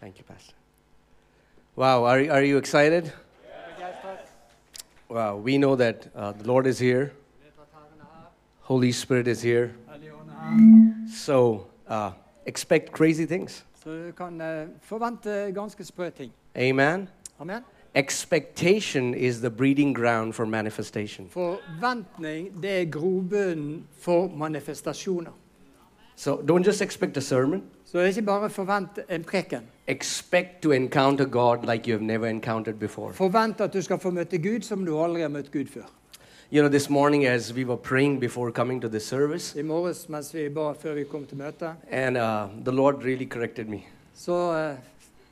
Thank you, Pastor. Wow, are, you- are you excited? Wow, we know that uh, the Lord is here, Holy Spirit is here. Helligånden er her. So uh, expect crazy things. Så du kan eh, forvente ganske sprø ting. Amen. Amen. Expectation is the breeding ground for manifestation. Forventning, det er grobunnen for manifestasjoner. So don't just expect a sermon, Så det er ikke bare forvent en preken. expect to encounter God like you have never encountered before. Forvent at du skal få møte Gud som du aldri har møtt Gud før. You know, this morning as we were praying before coming to this service, I morges mens vi ba før vi kom til møtet, and uh, the Lord really corrected me. så eh,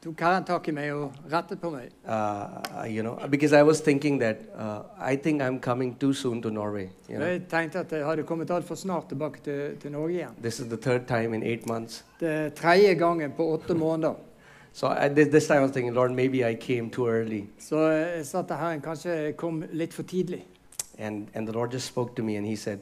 tok Herren tak i meg og rettet på meg. Uh, you know, because I was thinking that uh, I think I'm coming too soon to Norway. You Og know, Jeg tenkte at jeg hadde kommet altfor snart tilbake til, til Norge igjen. this is the third time in eight months. Det er tredje gangen på åtte måneder. So I, this, this time I was thinking, Lord, maybe I came too early. Så eh, jeg sa til Herren kanskje jeg kom litt for tidlig. And, and the Lord just spoke to me and He said,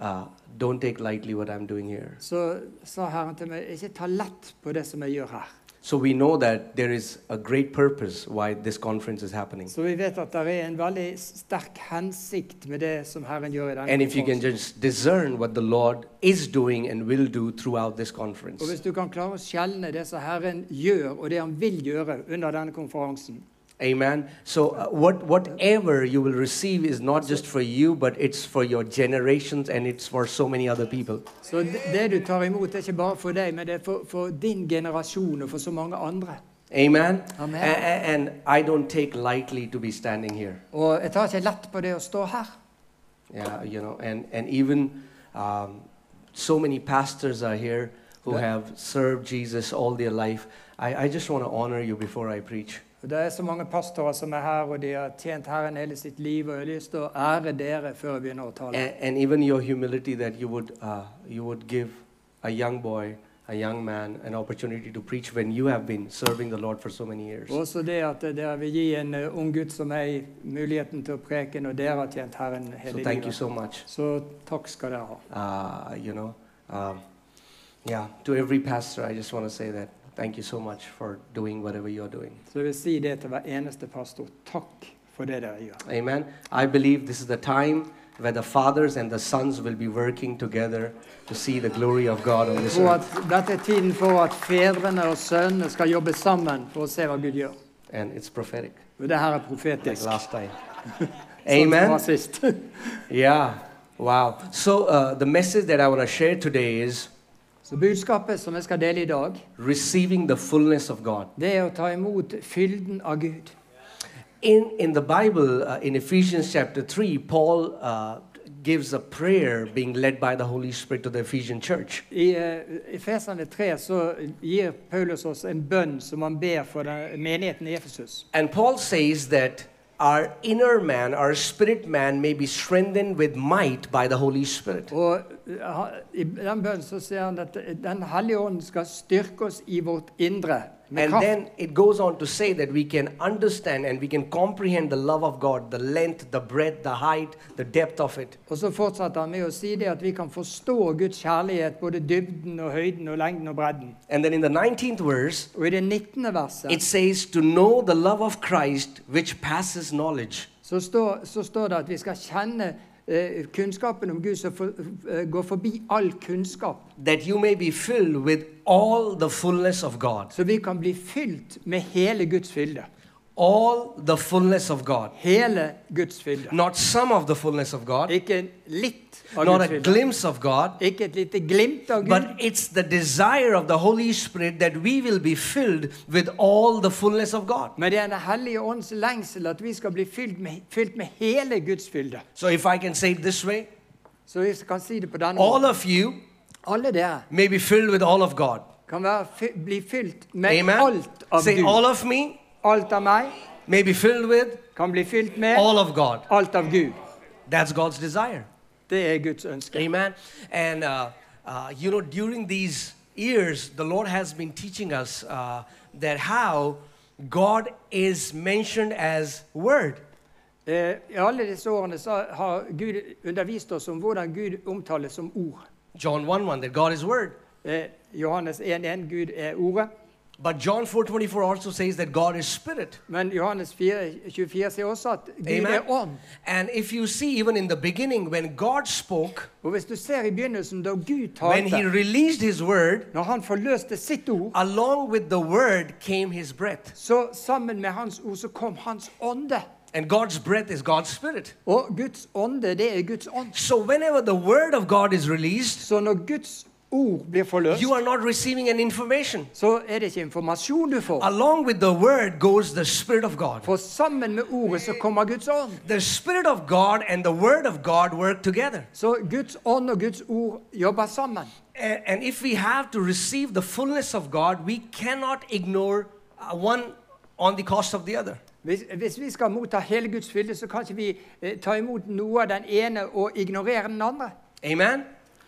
uh, Don't take lightly what I'm doing here. Så sa Herren til meg, ikke ta lett på det som jeg gjør her. So we know that there is a great purpose why this conference is happening. Så vi vet at det er en veldig sterk hensikt med det som Herren gjør i denne And if you can konferansen. just discern what the Lord is doing and will do throughout this Og hvis conference. du kan klare å skjelne det som Herren gjør, og det han vil gjøre under denne konferansen, Amen. So uh, what whatever you will receive is not just for you but it's for your generations and it's for so many other people. så det det du tar imot, er ikke bare for deg, men det er for, for din generasjon og for så mange andre. Amen. Amen. A- a- and I don't take lightly to be standing here. Og jeg tar ikke lett på det å stå her. Yeah, you know, and, and even um, so many pastors are here who Yeah. have served Jesus all their life. I, I just want to honor you before I preach. Og Det er så mange pastorer som er her, og de har tjent Herren hele sitt liv, og jeg har lyst til å ære dere før jeg begynner å And, tale. and even your humility that you would, uh, you would give a young boy, a young man, an opportunity to preach when you have been serving the Lord for so many years. Og også det at dere vil gi en eh, ung gutt som meg muligheten til å preke når dere har tjent Herren So hele thank you livet. so much. Så takk skal dere ha. Uh, you know, um, yeah, to every pastor, I just want to say that thank you so much for doing whatever you're doing. Så jeg vil si det til hver eneste pastor. Takk for det dere gjør. Amen. I believe this is the time where the fathers and the sons will be working together to see the glory of God on Jeg this tror earth. at dette er tiden for at fedrene og sønnene skal jobbe sammen for å se hva Gud gjør. And it's prophetic, Og det her er like profetisk. last time. Sånn som det var Amen. sist. Yeah. Wow. So, uh, the message that I want to share today is Så budskapet som jeg skal dele i dag, receiving the fullness of God. det er å ta imot fylden av Gud. In, in the Bible, uh, in Ephesians chapter 3, Paul uh, gives a prayer being led by the Holy Spirit to the Ephesian church. I eh, Efeserne 3 så gir Paulus oss en bønn som han ber for den, menigheten i Efesus. And Paul says that our inner man, our spirit man, may be strengthened with might by the Holy Spirit. Og eh, ha- i den bønnen så sier han at eh, Den hellige ånd skal styrke oss i vårt indre med And kraft. then it goes on to say that we can understand and we can comprehend the love of God, the length, the breadth, the height, the depth of it. Og så fortsetter han med å si det at vi kan forstå Guds kjærlighet, både dybden og høyden og lengden og bredden. And then in the 19th verse, Og i det 19. verset it says, To know the love of Christ which passes knowledge. så står, så står det at vi skal kjenne eh, kunnskapen om Gud som for, eh, går forbi all kunnskap. that you may be filled with all the fullness of God. Så vi kan bli fylt med hele Guds fylde. All the fullness of God. Hele Guds fylde. Not some of the fullness of God, Ikke litt av not Guds a fylde. glimpse of God, Ikke et lite glimt av Gud. but it's the desire of the Holy Spirit that we will be filled with all the fullness of God. Men det er Den hellige ånds lengsel at vi skal bli fylt med, fylt med hele Guds fylde. So, if I can say it this way, Så vi kan si det på denne all måten. of you Alle dere may be filled with all of God. kan være, fy- bli fylt med Amen. alt av Say, Gud. all of me Alt av meg may be filled with kan bli fylt med all of God. alt av Gud. That's God's desire. Det er Guds ønske. Amen. And uh, uh, you know, during these years, the Lord has been teaching us uh, that how God is mentioned as Word. Eh, I alle disse årene så har Gud undervist oss om hvordan Gud omtales som ord. John 1 1, that God is Word. Eh, Johannes 1.1 Gud er ordet. But John 4:24 also says that God is spirit. Men Johannes 4, 24 sier også at Gud Amen. er ånd. And if you see even in the beginning when God spoke, Og hvis du ser i begynnelsen, da Gud when he talte, released his word, når han forløste sitt ord, along with the word came his breath. så sammen med hans ord så kom hans ånde. And God's breath is God's spirit. Og Guds ånde, det er Guds ånd. So whenever the word of God is released, Så når Guds ord blir forløst, you are not receiving an information. så er det ikke informasjon du får. Along with the word goes the spirit of God. For sammen med ordet så kommer Guds ånd. The spirit of God and the word of God work together. Så Guds ånd og Guds ord jobber sammen. A- And if we have to receive the fullness of God, we cannot ignore uh, one on the cost of the other. Hvis, hvis vi skal motta hele Guds fylde, så kan ikke vi eh, ta imot noe av den ene og ignorere den andre. Amen.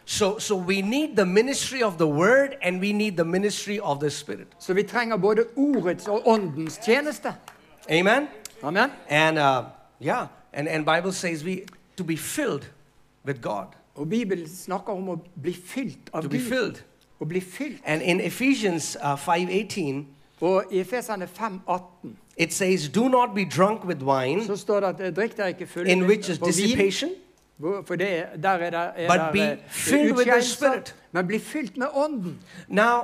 So so we need the ministry of the word and we need the ministry of the spirit. Så vi trenger både ordets og åndens tjeneste. Amen. Amen. And uh, yeah, and and Bible says we to be filled with God, Og Bibelen snakker om å bli fylt av to be Gud. filled. Å bli fylt. And in Ephesians uh, 5:18, Og i Efesene 5,18 it says, "Do not be drunk with wine, så står det at eh, drikk dere ikke fulle in which is på vin, dissipation, hvor- for det, er- der er det, er But der, be eh, filled with the utskeielser, Spirit. Men bli fylt med Ånden. Now,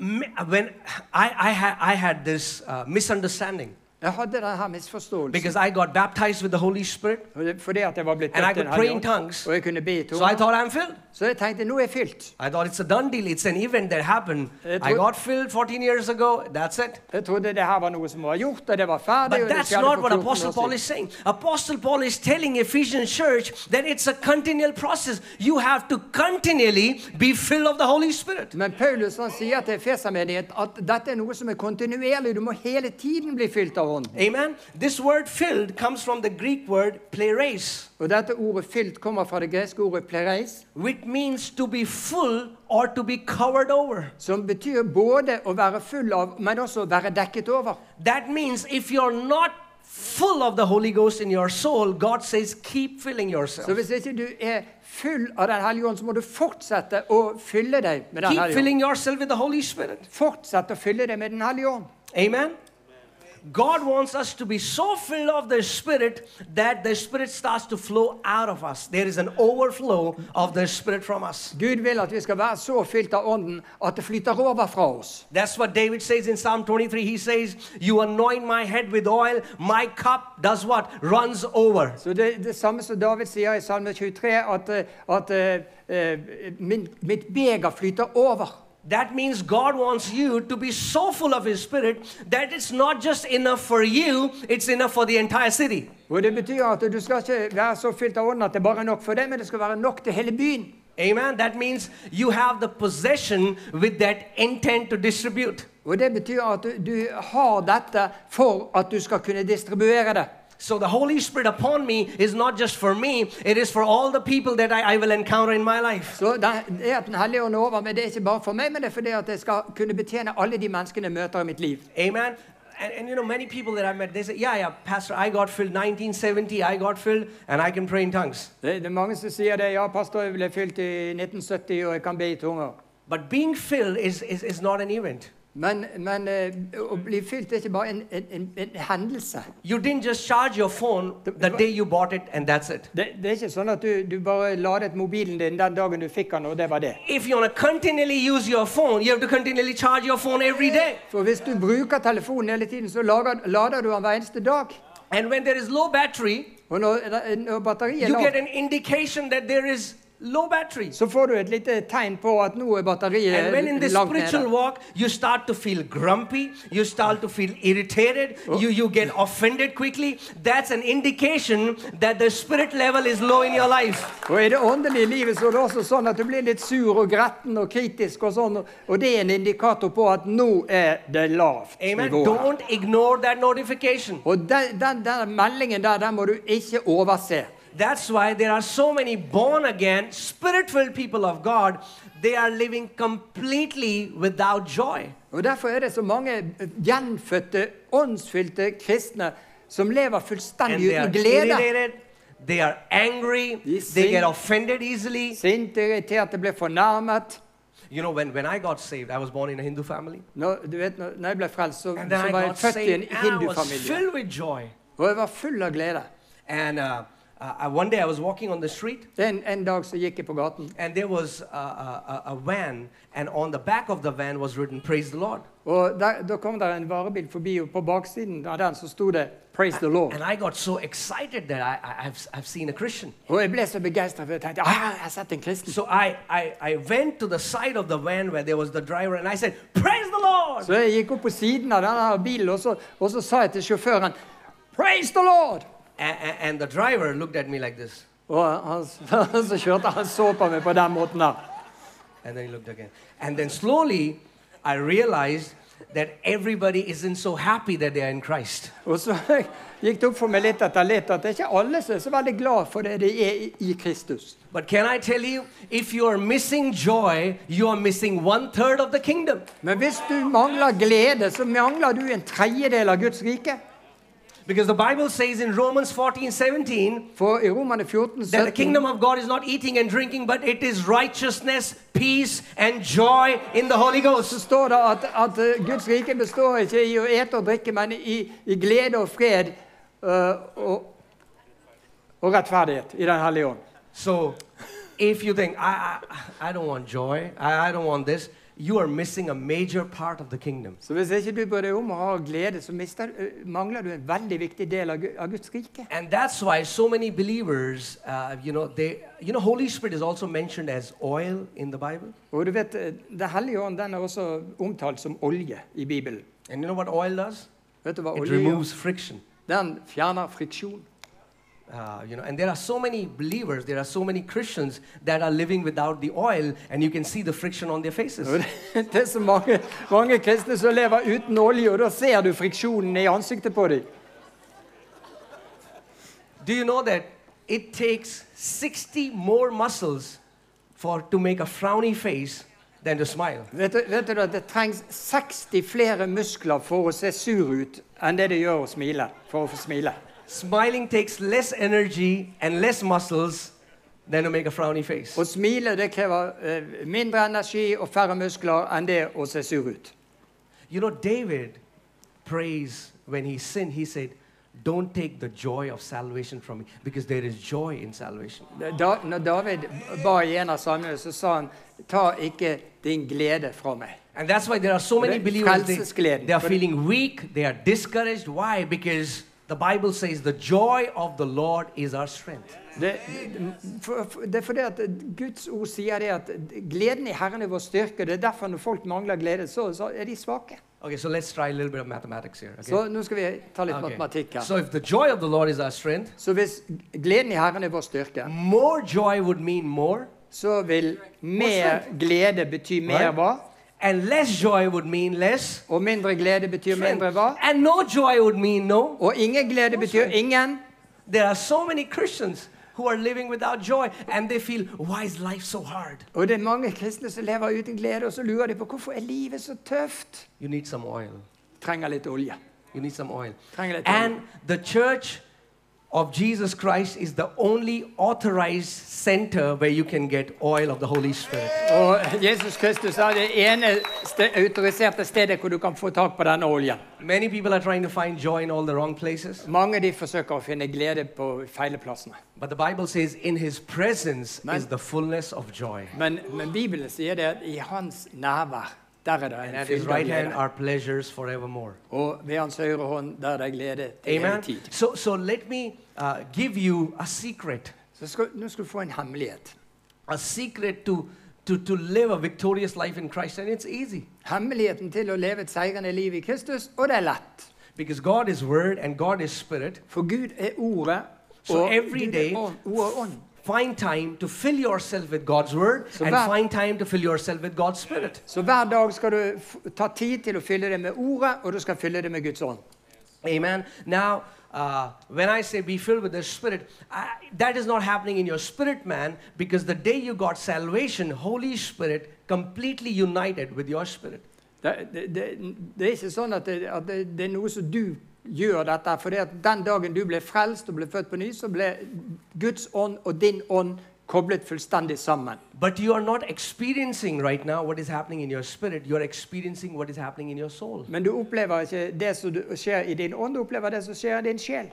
m- when I, I, had, I had this uh, misunderstanding Jeg hadde denne misforståelsen because I got baptized with the Holy Spirit, og det- fordi at jeg var blitt And I døpt i Den could pray hellige in ånd, tongues. og jeg kunne be i so I tunger. thought I'm filled. Så jeg tenkte nå er jeg fylt. I thought it's a done deal. It's an event that happened. It I would- got filled 14 years ago. That's it. Jeg trodde det her var noe som var gjort, og det var ferdig. But og det that's skjedde not for what 14 år Apostle Paul siden. is saying. Apostle Paul is telling Ephesian church that it's a continual process. You have to continually be filled of the Holy Spirit. Men Paulus han sier til Efesermenigheten at dette er noe som er kontinuerlig. Du må hele tiden bli fylt av Ånden. Amen. This word filled comes from the Greek word pleres, Og dette ordet 'fylt' kommer fra det greske ordet 'plereis', which means to be full or to be covered over. som betyr både å være full av, men også å være dekket over. That means if you're not full of the Holy Ghost in your soul, God says, keep filling yourself. Så hvis ikke du er full av Den hellige ånd, så må du fortsette å fylle deg med Den keep hellige ånd. filling yourself with the Holy Spirit. Fortsett å fylle deg med Den hellige ånd. Amen. God wants us to be so filled of the Spirit that the Spirit starts to flow out of us. There is an overflow of the Spirit from us. Gud vil at vi skal være så fylt av Ånden at det flyter over fra oss. That's what David says in Psalm 23. He says, You anoint my head with oil, my cup does what? Runs over. Så det, det samme som David sier i Salme 23, at, eh, at eh, eh, min, mitt beger flyter over. That means God wants you to be so full of His Spirit that it's not just enough for you, it's enough for the entire city. Og Det betyr at du skal ikke være så fylt av ånden at det bare er nok for deg, men det skal være nok til hele byen. Amen. That means you have the possession with that intent to distribute. Og Det betyr at du, du har dette for at du skal kunne distribuere det. So the Holy Spirit upon me is not just for me, it is for all the people that I, I will encounter in my life. Så Det det er at Den hellige ånd er over, men det er ikke bare for meg, men det er fordi at jeg skal kunne betjene alle de menneskene jeg møter i mitt liv. Amen. And, and you know, many people that I met, they say, Yeah, yeah, Pastor, I got filled 1970, I got filled, and I can pray in tongues. Det, det er mange som sier det. 'Ja, pastor, jeg ble fylt i 1970, og jeg kan be i tunger'. But being filled is, is, is not an event. Men, men eh, å bli fylt er ikke bare en, en, en, en hendelse. You didn't just charge your phone the day you bought it, and that's it. Det, det er ikke sånn at du, du bare ladet mobilen din den dagen du fikk den, og det var det. If you want to continually use your phone, you have to continually charge your phone every day. For hvis du bruker telefonen hele tiden, så lager, lader du den hver eneste dag. And when there is low battery, Og når, når batteriet you get lager, an indication that there is low battery. så får du et lite tegn på at nå er batteriet And when in this langt nede. spiritual walk, you start to feel grumpy, you start to feel irritated, you, you get offended quickly, that's an indication that the spirit level is low in your life. Og i det åndelige livet så er det også sånn at du blir litt sur og gretten og kritisk og sånn, og det er en indikator på at nå er det lavt Amen. nivå her. Don't ignore that notification. Og den, den, den meldingen der, den må du ikke overse. That's why there are so many born again, spirit filled people of God, they are living completely without joy. Og Derfor er det så mange gjenfødte, åndsfylte kristne som lever And fullstendig they are uten glede. irritated, they are angry, Yes, they get sing. offended easily. Sinte, irriterte, ble fornærmet. You know, when, when I got saved, I was born in a Hindu family. Når, du vet, når når jeg ble frelst, så, And then så I var jeg got født i en saved and I was hindufamilie. filled with joy. Og jeg var full av glede. And uh, uh, I- one day I was walking on the street En, en dag så gikk jeg på gaten, and there was a, a, a a van and on the back of the van was written, Praise the Lord. og der, da kom det en varebil forbi, og på baksiden av den så sto det 'Praise the Lord'. And I got so excited that I, I, I've, I've seen a Christian. Og jeg ble så begeistra, for jeg tenkte ah, 'Jeg har sett en kristen'. So I, I, I went to the side of the van where there was the driver and I said, Praise the Lord! Så jeg gikk opp på siden av denne her bilen, og så, og så sa jeg til sjåføren 'Praise the Lord'! A- a- and the driver looked at me like this. Og han, han som kjørte, han så på meg på den måten der. And then he looked again. And then slowly I realized that everybody isn't so happy that they are in Christ. Og så gikk det opp for meg litt etter litt at det er ikke alle som er så veldig glad for det de er i- i Kristus. But can I tell you, if you are missing joy, you are missing one third of the kingdom. Men hvis du mangler glede, så mangler du en tredjedel av Guds rike. Because the Bible says in Romans 14 17 For i Romerne 14, that the 17 kingdom of God is not eating and drinking, but it is righteousness, peace, and joy in the Holy så Ghost. står det at, at eh, Guds rike består ikke i å ete og drikke, men i, i glede og fred eh, og, og rettferdighet i Den hellige ånd. So if you think, I, I, I don't want joy, I, I don't want this, you are missing a major part of the kingdom. Så hvis ikke du bryr deg om å ha glede, så mister, eh, mangler du en veldig viktig del av, Gu- av Guds rike. And that's why so many believers, uh, you know, they, you know, Holy Spirit is also mentioned as oil in the Bible. Og du vet, eh, Den hellige ånd den er også omtalt som olje i Bibelen. And you know what oil does? Vet du hva It olje gjør? removes friction. Den fjerner friksjon. Uh, you know, and there are so many believers, there are so many Christians that are living without the oil, and you can see the friction on their Og faces. Det det er så mange, mange kristne som lever uten olje, og da ser du friksjonen i ansiktet på dem. Do you know that it takes 60 more muscles for to make a frowny face than to smile? Vet, du- vet du at det trengs 60 flere muskler for å se sur ut enn det det gjør å smile, for å få smile. Smiling takes less energy and less muscles than to make a frowny face. Å smile det krever eh, mindre energi og færre muskler enn det å se sur ut. You know, David prays when he sinned, he said, Don't take the joy of salvation from me, because there is joy in salvation. Da, når David ba i en av salmene, så sa han ta ikke din glede fra meg. And that's why there are so many Det- believers, they, frelsesgleden. they are For- feeling weak, they are discouraged. Why? Because the Bible says the joy of the Lord is our strength. Det, for, for, det er fordi at Guds ord sier det at gleden i Herren er vår styrke. Det er derfor når folk mangler glede, så, så er de svake. Okay, so let's try a little bit of mathematics here. Okay? Så nå skal vi ta litt Okay. matematikk her. So if the joy of the Lord is our strength, Så hvis gleden i Herren er vår styrke, more joy would mean more, så vil mer glede bety mer Right. hva? and less joy would mean less. Og mindre glede betyr strength. mindre hva? And no joy would mean no. Og ingen glede betyr ingen. There are so many Christians who are living without joy and they feel, why is life so hard? Og det er mange kristne som lever uten glede, og så lurer de på hvorfor er livet så tøft? You need some oil. Trenger litt olje. You need some oil. Trenger litt olje. And the church of Jesus Christ is the only authorized center where you can get oil of the Holy Spirit. Og Jesus Kristus er det ene ste autoriserte stedet hvor du kan få tak på denne oljen. Many people are trying to find joy in all the wrong places, Mange de forsøker å finne glede på feile plassene. but the Bible says, in his presence Man. is the fullness of joy. Men, men Bibelen sier det at i hans nærvær, der er det And en at his fylde right av hand glede. are pleasures forevermore. Og ved hans høyre hånd, der er det glede til evig Amen. tid. So, so let me uh, give you a secret. Så skal, nå skal du få en hemmelighet. a secret to, to, to live a victorious life in Christ. And it's easy Hemmeligheten til å leve et seirende liv i Kristus, og det er lett. because God is Word and God is Spirit. For Gud er ordet, So og every Gud day- er ånd. Ord og ånd. Find time to fill yourself with God's Word So and that- find time to fill yourself with God's Spirit. Så hver dag skal du f ta tid til å fylle det med ordet, og du skal fylle det med Guds ånd. Amen. Now, uh, when I say be filled with the Spirit, I, that is not happening in your spirit, man, because the day you got salvation, Holy Spirit completely united with your spirit. Det, det, det, det er ikke sånn at det, at det, det er noe som du gjør dette. For den dagen du ble frelst og ble født på ny, så ble Guds ånd og din ånd koblet fullstendig sammen. But you are not experiencing right now what is happening in your spirit. You're experiencing what is happening in your soul. Men du opplever ikke det som du- skjer i din ånd, du opplever det som skjer i din sjel.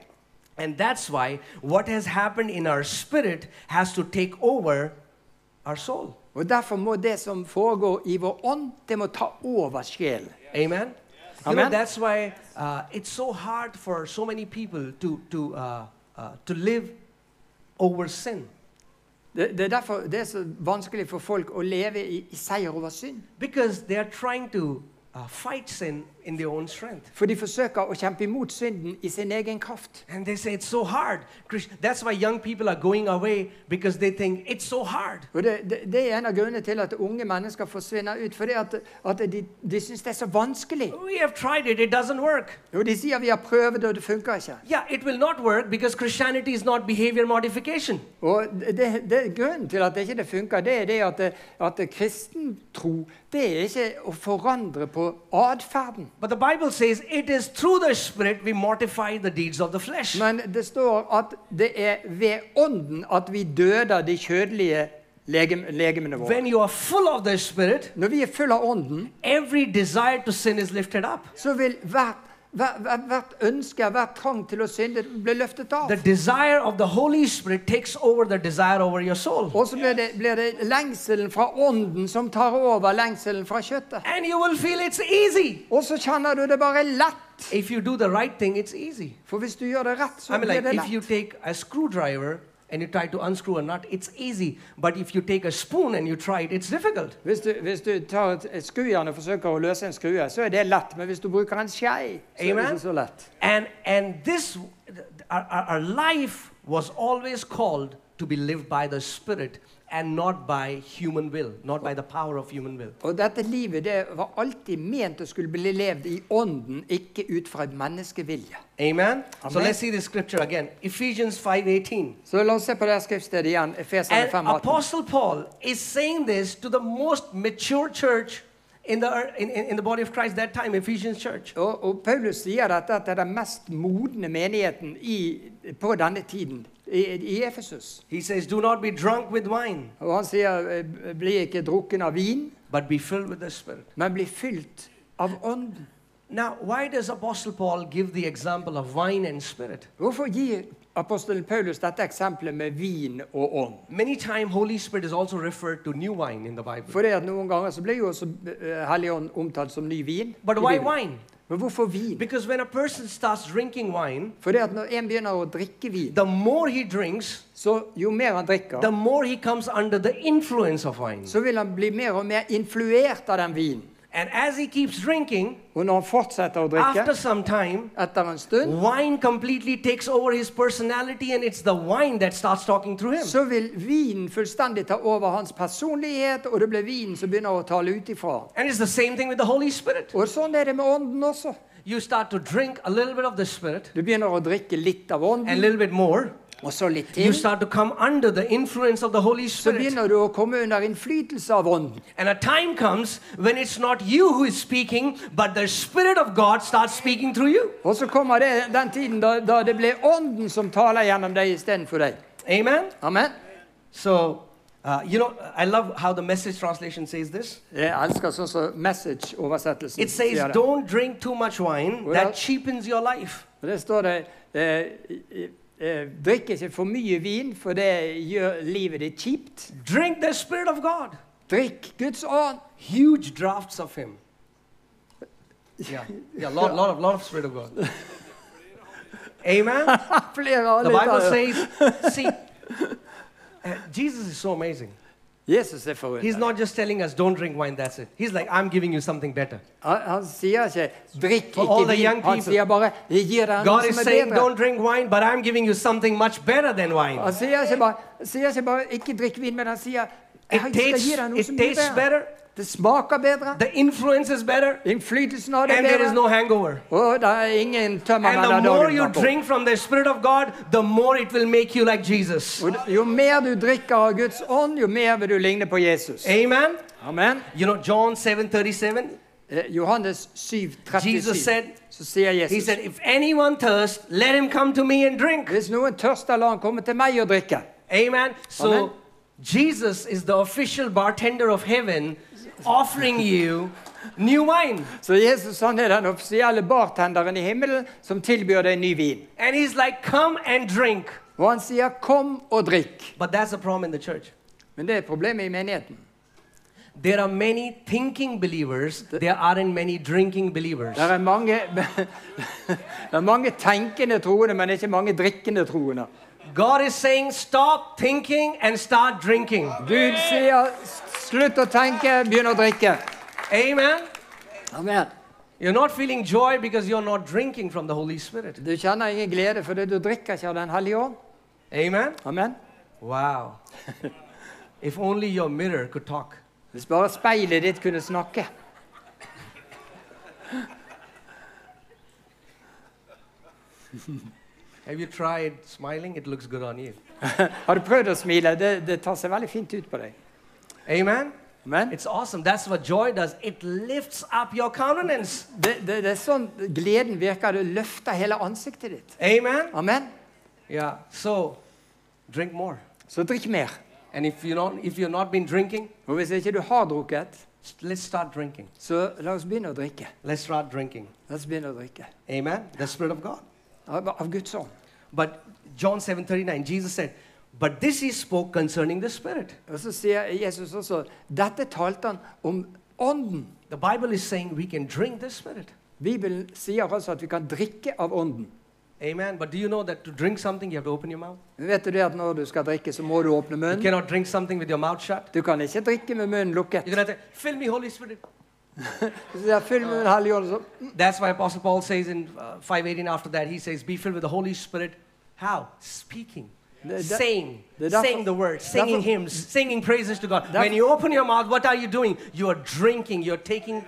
And that's why what has happened in our spirit has to take over our soul. Og Derfor må det som foregår i vår ånd, det må ta over sjelen. Amen? You know, Amen. that's why uh, it's so hard for so many people to, to, uh, uh, to live over sin. Det, det er derfor det er så vanskelig for folk å leve i, i seier over synd. Because they are trying to uh, fight sin in their own strength. For de forsøker å kjempe imot synden i sin egen kraft. And they say it's so hard. Chris- That's why young people are going away because they think it's so hard. Og det, det, det er en av grunnene til at unge mennesker forsvinner ut. Fordi at, at de, de syns det er så vanskelig. We have tried it, it doesn't work. Og de sier 'vi har prøvd, og det funker ikke'. Yeah, it will not work because Christianity is not behavior modification. Og det, det, Grunnen til at det ikke det funker, det er det at, at kristen tro det er ikke å forandre på atferden. But the Bible says it is through the Spirit we mortify the deeds of the flesh. Men det står at det er ved ånden at vi døder de kjødelige legem, legemene våre. When you are full of the Spirit, Når vi er full av ånden, every desire to sin is lifted up. så vil hvert, hvert, hvert, hvert ønske, hver trang til å synde, bli løftet av. The desire of the Holy Spirit takes over the desire over your soul. Og så blir det, blir det lengselen fra ånden som tar over lengselen fra kjøttet. And you will feel it's easy. Og så kjenner du det bare lett. If you do the right thing, it's easy. For hvis du gjør det rett, I så mean, blir like det if lett. you take a screwdriver and you try to unscrew a nut, it's easy. But if you take a spoon and you try it, it's difficult. Hvis du, hvis du tar et, et skrujern og forsøker å løse en skrue, så er det lett. Men hvis du bruker en skei, så er det Amen. ikke så lett. And and this our, our our life was always called to be lived by the spirit and not by human will, not by the power of human will. Og dette livet det var alltid ment å skulle bli levd i ånden, ikke ut fra en menneskevilje. Amen. So Amen. let's see the scripture again. Ephesians 5:18. Så la oss se på det her skriftstedet igjen. Efesene And 5, 18. Apostle Paul is saying this to the most mature church in the ear- in, in, in the body of Christ that time, Ephesians church. Og, og Paulus sier dette til den mest modne menigheten i, på denne tiden, i, i Efesus. He says, "Do not be drunk with wine, Og han sier eh, 'bli ikke drukken av vin, but be filled with the spirit." men bli fylt av ånden'. Now, why does Apostle Paul give the example of wine and spirit? Hvorfor gir apostelen Paulus dette eksempelet med vin og ånd? Many times, Holy Spirit is also referred to new wine in the Bible. For det at noen ganger så blir jo også eh, Helligånd omtalt som ny vin. But i why Bibelen. wine? Men hvorfor vin? Because when a person starts drinking wine, For det at når en begynner å drikke vin, the more he drinks, så jo mer the han drikker, more he comes under the influence of wine. så vil han bli mer og mer influert av den vinen. And as he keeps drinking, Og når han fortsetter å after drikke some time, etter en stund, wine completely takes over his personality and it's the wine that starts talking through him. så vil vinen fullstendig ta over hans personlighet, og det blir vinen som begynner å tale ut ifra. And it's the same thing with the Holy Spirit. Og sånn er det med ånden også. You start to drink a little bit of the Spirit Du begynner å drikke litt and av a ånden, little bit more. og så litt You til. start to come under the influence of the Holy så Spirit. begynner du å komme under innflytelse av ånden. And a time comes when it's not you who is speaking, but the Spirit of God starts speaking through you. Og så kommer det, den tiden da, da det blir ånden som taler gjennom deg istedenfor deg. Amen? Amen. So, uh, you know, I love how the message translation says this. Jeg elsker sånn som message-oversettelsen It says, sier det. Don't drink too much wine, Well- that cheapens your life. Og Der står det eh, eh, eh, Drikk ikke for mye vin, for det gjør livet ditt kjipt. Drink the Spirit of God, Drikk Guds ånd. huge drafts of Him. Yeah, yeah, lot, lot of, lot of Spirit of God. Amen? Ah, Flere av The Bible lytterne. says, See, uh, Jesus is so amazing. Jesus er He's forundret. not just telling us, don't drink wine, that's it. He's like, I'm giving you something better. Han, han sier ikke 'drikk For all ikke the young vin'. Han people. sier bare 'jeg gir deg noe God is som er saying, bedre'. don't drink wine, but I'm giving you something much better than wine. Han sier ikke bare, sier ikke, bare 'ikke drikk vin', men han sier 'jeg It skal gi tastes, deg noe it som er tastes bedre'. better, Det smaker bedre. the influence is better, Innflytelsen av det and er there is bedre. no hangover. Og det er ingen And tømmermenn the av more you dagen derpå. drink from the Spirit of God, the more it will make you like Jesus. Og Jo mer du drikker av Guds ånd, jo mer vil du ligne på Jesus. Amen. Amen. You know, John 7 37, Eh, Johannes 7, Jesus 37, said- så sier he Jesus said, If anyone thirsts, let him come to me and drink. Hvis noen tørster, la han komme til meg og drikke. Amen. So Amen. Jesus is the official bartender of heaven offering you new wine. Så Jesus han er den offisielle bartenderen i himmelen som tilbyr deg ny vin. And he's like, come and drink. Og han sier 'kom og drikk'. But that's a problem in the church. Men det er problemet i menigheten. There are many thinking believers, there aren't many drinking believers. Det er mange, det er mange tenkende troende, men ikke mange drikkende troende. God is saying, stop thinking and start drinking. Gud sier 'slutt å tenke, begynn å drikke'. Amen. Amen. You're not feeling joy because you're not drinking from the Holy Spirit. Du kjenner ingen glede fordi du drikker ikke av Den hellige ånd. Amen. Amen. Wow. if only your mirror could talk. Hvis bare speilet ditt kunne snakke. Have you tried smiling? It looks good on you. Har du prøvd å smile? Det, det tar seg veldig fint ut på deg. Amen. Amen. It's awesome. That's what joy does. It lifts up your countenance. Det, det, det er sånn gleden virker. Du løfter hele ansiktet ditt. Amen. Amen. Yeah. So, drink more. Så drikk mer. And if you not, if you've not been drinking, Og hvis ikke du har drukket, s- let's start drinking. så la oss begynne å drikke. Let's start drinking. La oss begynne å drikke. Amen. The Spirit of God. Av, av Guds ånd. But John 7:39, Jesus said, "But this he spoke concerning the Spirit." Og så sier Jesus også dette talte han om ånden. The Bible is saying we can drink the Spirit. Bibelen sier altså at vi kan drikke av ånden. Amen. But do you know that to drink something you have to open your mouth? Men Vet du det at når du skal drikke, så må du åpne You munnen? cannot drink something with your mouth shut. Du kan ikke drikke med munnen lukket. You're gonna say, "Fill me, Holy Spirit." Så sier fyll munnen hellig ånd, og så That's why Apostle Paul says in uh, 518 after that, he says, Be filled with the Holy Spirit. How? Speaking. The- that- saying. the- that's- saying the words, that's- singing hymns, singing praises to God. That's- When you open your mouth, what are you doing? You are drinking, you're taking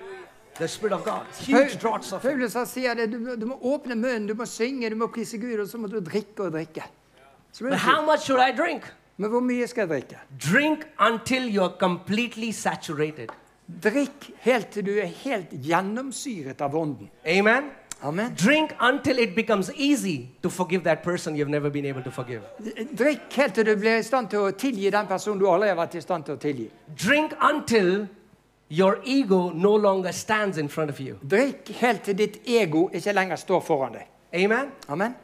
the Spirit of God. Huge draughts of it. Paulus han sier det, du, må- du må åpne munnen, du må synge, du må prise Gud, og så må du drikke og drikke. Så blir But det how fint. much should I drink? Men hvor mye skal jeg drikke? Drink until you're completely saturated. Drikk helt til du er helt gjennomsyret av ånden. Amen? Amen. Drink until it becomes easy to forgive that person you've never been able to forgive. Drikk helt til du blir i stand til å tilgi den personen du aldri har vært i stand til å tilgi. Drink until your ego no longer stands in front of you. Drikk helt til ditt ego ikke lenger står foran deg. Amen? Amen.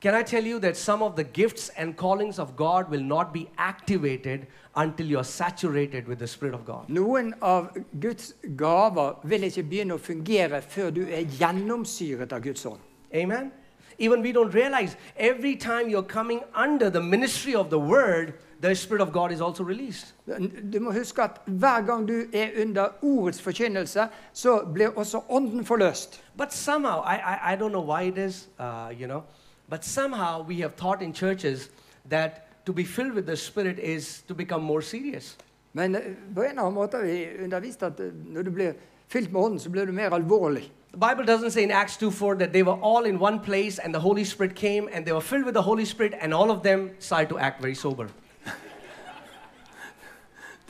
Can I tell you that some of the gifts and callings of God will not be activated until you're saturated with the Spirit of God? Noen av Guds gaver vil ikke begynne å fungere før du er gjennomsyret av Guds ånd. Amen? Even we don't realize every time you're coming under the ministry of the Word, the Spirit of God is also released. Du må huske at hver gang du er under ordets forkynnelse, så blir også ånden forløst. But somehow, I, I, I don't know why it is, uh, you know, but somehow we have taught in churches that to be filled with the Spirit is to become more serious. Men eh, på en eller annen måte har vi undervist at eh, når du blir fylt med ånden, så blir du mer alvorlig. The Bible doesn't say in Acts 2:4 that they were all in one place and the Holy Spirit came and they were filled with the Holy Spirit and all of them started to act very sober.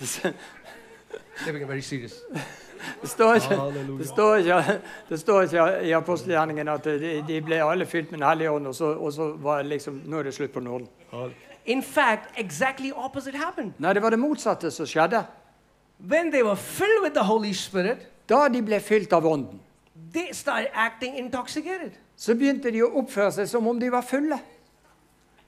they became very serious. Det står ikke, Halleluja. det står ikke, det står ikke i apostelgjerningen at de, de ble alle fylt med Den hellige ånd, og så, og så var det liksom Nå er det slutt på nåden. In fact, exactly opposite happened. Nei, det var det motsatte som skjedde. When they were filled with the Holy Spirit, Da de ble fylt av ånden, they started acting intoxicated. så begynte de å oppføre seg som om de var fulle.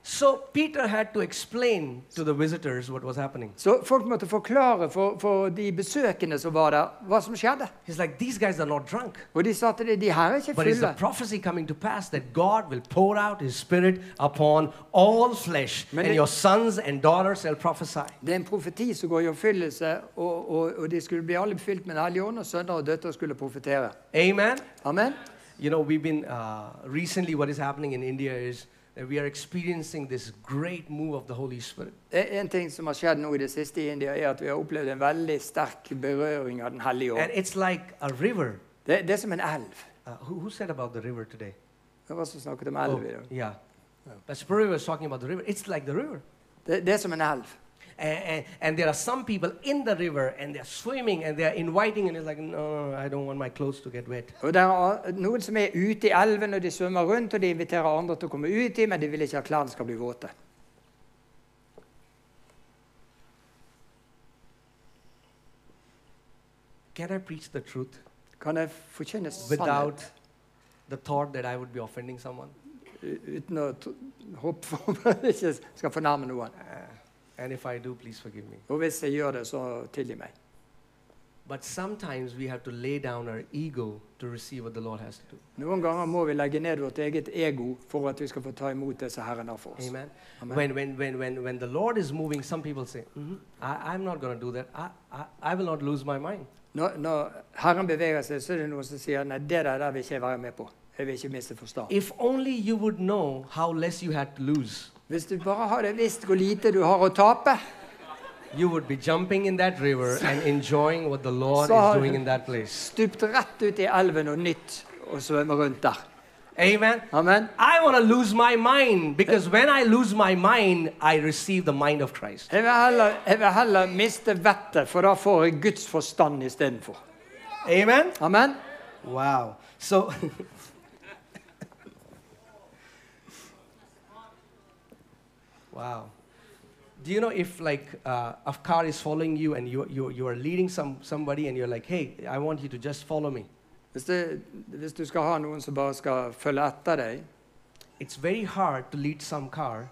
So Peter had to explain to the visitors what was happening. Så folk måtte forklare for, for de besøkende som var der, hva som skjedde. He's like, these guys are not drunk. Og de sa til dem de her er ikke But it's the fulle. prophecy coming to pass that God will pour out His Spirit upon all flesh, Men and det- your sons and daughters shall prophesy. Det er en profeti som går i oppfyllelse, og, og, og de skulle bli alle fylt med Den hellige ånd, og sønner og døtre skulle profetere. Amen. Amen. You know, we've been uh, recently. What is happening in India is that we are experiencing this great move of the Holy Spirit. E- En ting som har skjedd nå i det siste i India, er at vi har opplevd en veldig sterk berøring av Den hellige And ånd. it's like a river. Det, det er som en elv. Uh, who, who said about the river today? Oh, Det var som snakket om elv i dag. yeah. Uh, Pastor Perry was talking about the river. It's like the river. Det, det er som en elv. And, and, and there are some people in the river and they're swimming and they're inviting, and it's like, no, no, I don't want my clothes to get wet. Og det er a- noen som er ute i elven, og de svømmer rundt, og de inviterer andre til å komme ut i, men de vil ikke at klærne skal bli våte. Can I preach the truth Kan jeg forkynne sannhet without the thought that I would be offending someone? uten å t- håpe for at jeg ikke skal fornærme noen? Uh, and if I do, please forgive me. Og hvis jeg gjør det, så tilgi meg. But sometimes we have to lay down our ego to receive what the Lord has to do. Noen ganger må vi legge ned vårt eget ego for at vi skal få ta imot det som Herren har for oss. Amen. Amen. When, when, when, when, when the Lord is moving, some people say, "Mhm, I, I'm not going to do that. I, I, I will not lose my mind. Når, når Herren beveger seg, så er det noen som sier nei, det der, der vil ikke jeg være med på. Jeg vil ikke miste forstand. If only you would know how less you had to lose, Hvis du bare hadde visst hvor lite du har å tape, you would be jumping in that river and enjoying what the Lord is Sorry. doing in that place. stupt rett ut i elven og nytt og svømme rundt der. Amen. Amen. I want to lose my mind because when I lose my mind, I receive the mind of Christ. Jeg vil heller, jeg vil heller miste vettet, for da får jeg Guds forstand istedenfor. Amen. Amen. Wow. So, wow. Do you know if like uh, Afkar is following you and you, you, you are leading some, somebody and you're like, hey, I want you to just follow me. Hvis du, hvis du skal ha noen som bare skal følge etter deg, It's very hard to lead some car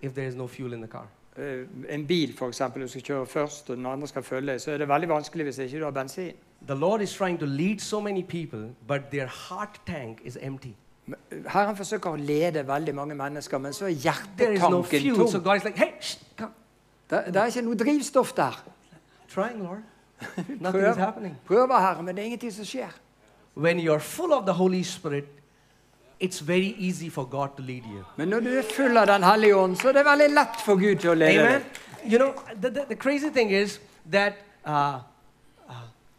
if there is no fuel in the car. eh, en bil f.eks. du skal kjøre først, og den andre skal følge deg, så er det veldig vanskelig hvis ikke du har bensin. The Lord is trying to lead so many people, but their heart tank is empty. Herren forsøker å lede veldig mange mennesker, men så er There is no hjertetanken sånn fuel. So tom. God is like, hey, shh, come. Det, det er ikke noe drivstoff der. Trying, Lord. Nothing is happening. Prøver, Herre, men det er ingenting som skjer. when you're full of the Holy Spirit, it's very easy for God to lead you. Men når du er full av Den hellige ånd, så er det veldig lett for Gud til å lede Amen. deg. You know, the, the, the crazy thing is that uh, uh,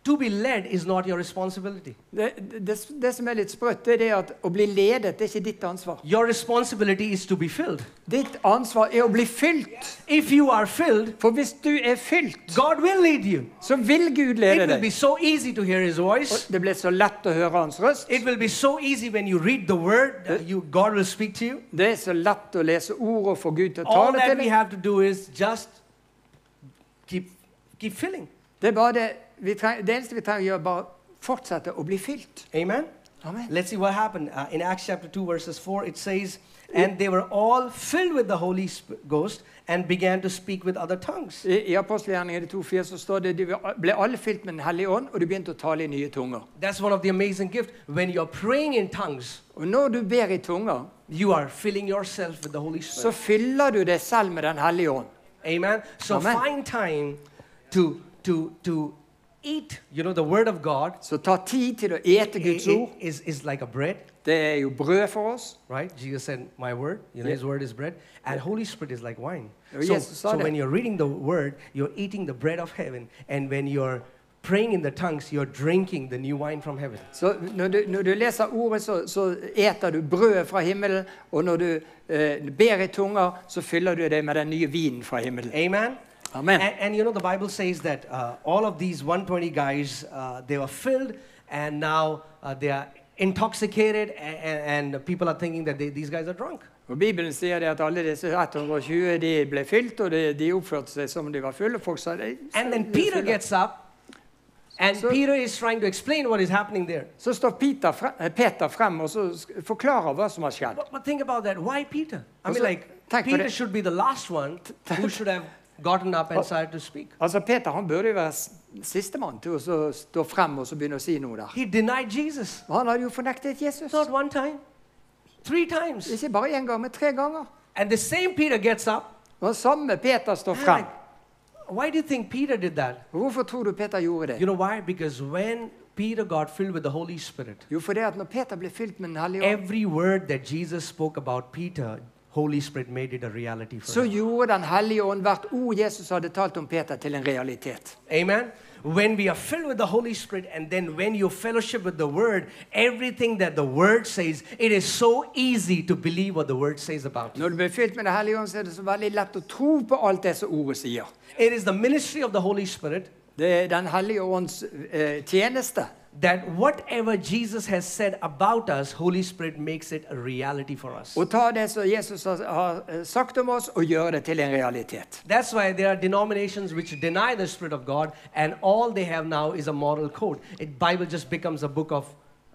to be led is not your responsibility. Det, det, det som er litt sprøtt, det er det at å bli ledet det er ikke ditt ansvar. Your responsibility is to be filled. Ditt ansvar er å bli fylt. If you are filled, For hvis du er fylt, God will lead you. så vil Gud It lede will be deg. so easy to hear His Og voice. det blir så lett å høre Hans røst. It will be so easy when you read the Word. uh, you, God will speak to you. Det er så lett å lese ord og få Gud til å All tale that til we deg. have to do is just keep, keep filling. Det er bare det vi trenger, det eneste vi trenger å gjøre, er bare fortsette å bli fylt. Amen. Amen. Let's see what happened. Uh, in Acts chapter 2, verses 4, it says, And they were all filled with the Holy Sp- Ghost and began to speak with other tongues. I, i Apostelgjerningene 2,4 så står det de ble alle fylt med Den hellige ånd, og de begynte å tale i nye tunger. That's one of the amazing gifts. When you're praying in tongues, Og når du ber i tunger, you are filling yourself with the Holy så Spirit. fyller du deg selv med Den hellige ånd. Amen. So Amen. find time to, to, to eat, you know, the Word of God. Så ta tid til å ete It- Guds it ord. is, is like a bread, Det er jo brød for oss. right? Jesus said, My word, you know, Yeah. His word is bread. And Holy Spirit is like wine. Oh, so yes, so saw that. when you're reading the word, you're eating the bread of heaven. And when you're praying in the tongues, you're drinking the new wine from heaven. Så når du, når du leser ordet, så, så eter du brødet fra himmelen. Og når du eh, ber i tunger, så fyller du deg med den nye vinen fra himmelen. Amen. Amen. And, and you know, the Bible says that uh, all of these 120 guys, uh, they were filled and now uh, they are intoxicated, and, and people are thinking that they, these guys are drunk. Og Bibelen sier det at alle disse 120 de ble fylt, og de, de oppførte seg som om de var fulle. Folk sa «Nei, så- And then de er Peter fulle». gets up, and So- Peter is trying to explain what is happening there. Så står Peter frem, Peter frem og så sk- forklarer hva som har skjedd. But, but think about that. Why Peter? I Och mean, så- like, tack för Peter det. should be the last one who should have gotten up and started to speak. Altså, Peter han burde jo være s- sistemann til å så stå frem og så begynne å si noe der. He denied Jesus. Og Han hadde jo fornektet Jesus. Not one time, three times. Ikke bare én gang, men tre ganger. And the same Peter gets up. Og den samme Peter står and frem. like, why do you think Peter did that? Og Hvorfor tror du Peter You gjorde det? know why? Because when Peter got filled with the Holy Spirit, Jo, fordi at når Peter ble fylt med Den hellige ånd, every word that Jesus spoke about Peter, Holy Spirit made it a reality for så him. gjorde Den hellige ånd hvert ord Jesus hadde talt om Peter, til en realitet. Amen. When we are filled with the Holy Spirit, and then when you fellowship with the Word, everything that the Word says, it is so easy to believe what the Word says about you. Når du blir fylt med Den hellige ånd, så er det så veldig lett å tro på alt det som ordet sier. It is the ministry of the Holy Spirit Det er Den hellige ånds eh, tjeneste. that whatever Jesus has said about us, Holy Spirit makes it a reality for us. Å ta det som Jesus har- har eh, sagt om oss, og gjøre det til en realitet. That's why there are denominations which deny the Spirit of God, and all they have now is a moral code. It, Bible just becomes a book of,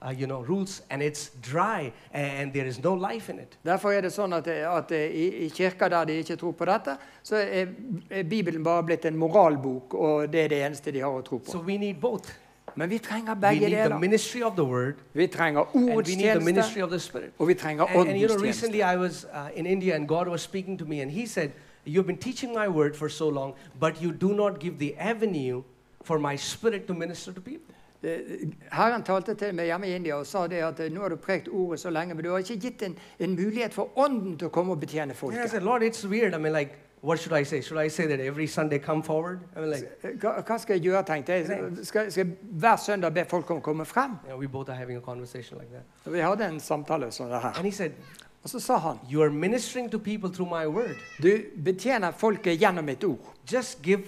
uh, you know, rules, and it's dry, and there is no life in it. Derfor er det sånn at, at i, i kirker der de ikke tror på dette, så er, er Bibelen bare blitt en moralbok, og det er det eneste de har å tro på. So we need both. Men vi trenger We begge need the deler. ministry of the Word, Vi trenger and we need the ordstjeneste, ministry of the Spirit. og vi trenger And, and you know, åndens recently tjeneste. I was uh, in India and God was speaking to me, and He said, You've been teaching my word for so long, but you do not give the avenue for my spirit to minister to people. Eh, Herren talte til meg hjemme i India og sa det at eh, nå har du prekt ordet så lenge, men du har ikke gitt en, en mulighet for ånden til å komme og betjene And I folket. said, Lord, it's weird. I mean, like, what should I say? Should I say that every Sunday come forward? I mean, like, Eh, Hva, hva skal jeg gjøre, tenkte jeg. Skal, skal jeg hver søndag be folk om å komme frem? you know, we both are having a conversation like that. Og Vi hadde en samtale sånn det her. And He said, Og så sa han You are ministering to people through my word. du betjener folket gjennom mitt ord, Just give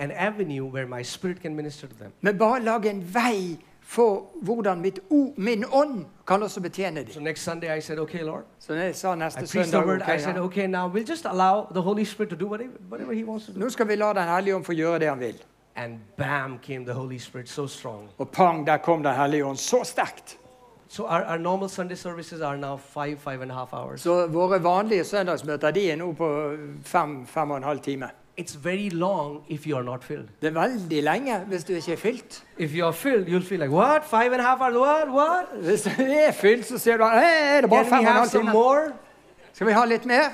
an avenue where my spirit can minister to them. men bare lag en vei for hvordan mitt ord, min ånd kan også betjene So dem. next Sunday I said, Okay, Lord. Så jeg sa I neste preached the søndag word. ok, I said, ja. Okay, now we'll just allow the Holy Spirit to do whatever, whatever He wants to do. Nå skal vi la Den hellige ånd få gjøre det han vil. And bam, came the Holy Spirit so strong. Og pang, der kom Den hellige ånd så sterkt. So our, our normal Sunday services are now five, five and a half hours. Så våre vanlige søndagsmøter de er nå på fem, fem og en halv time. It's very long if you are not filled. Det er veldig lenge hvis du ikke er fylt. If you are filled, you'll feel like, what? Five and a half hours? What? What? Hvis du er fylt, så sier du hey, er det bare Can we fem og en have halv some time. more? Skal vi ha litt mer?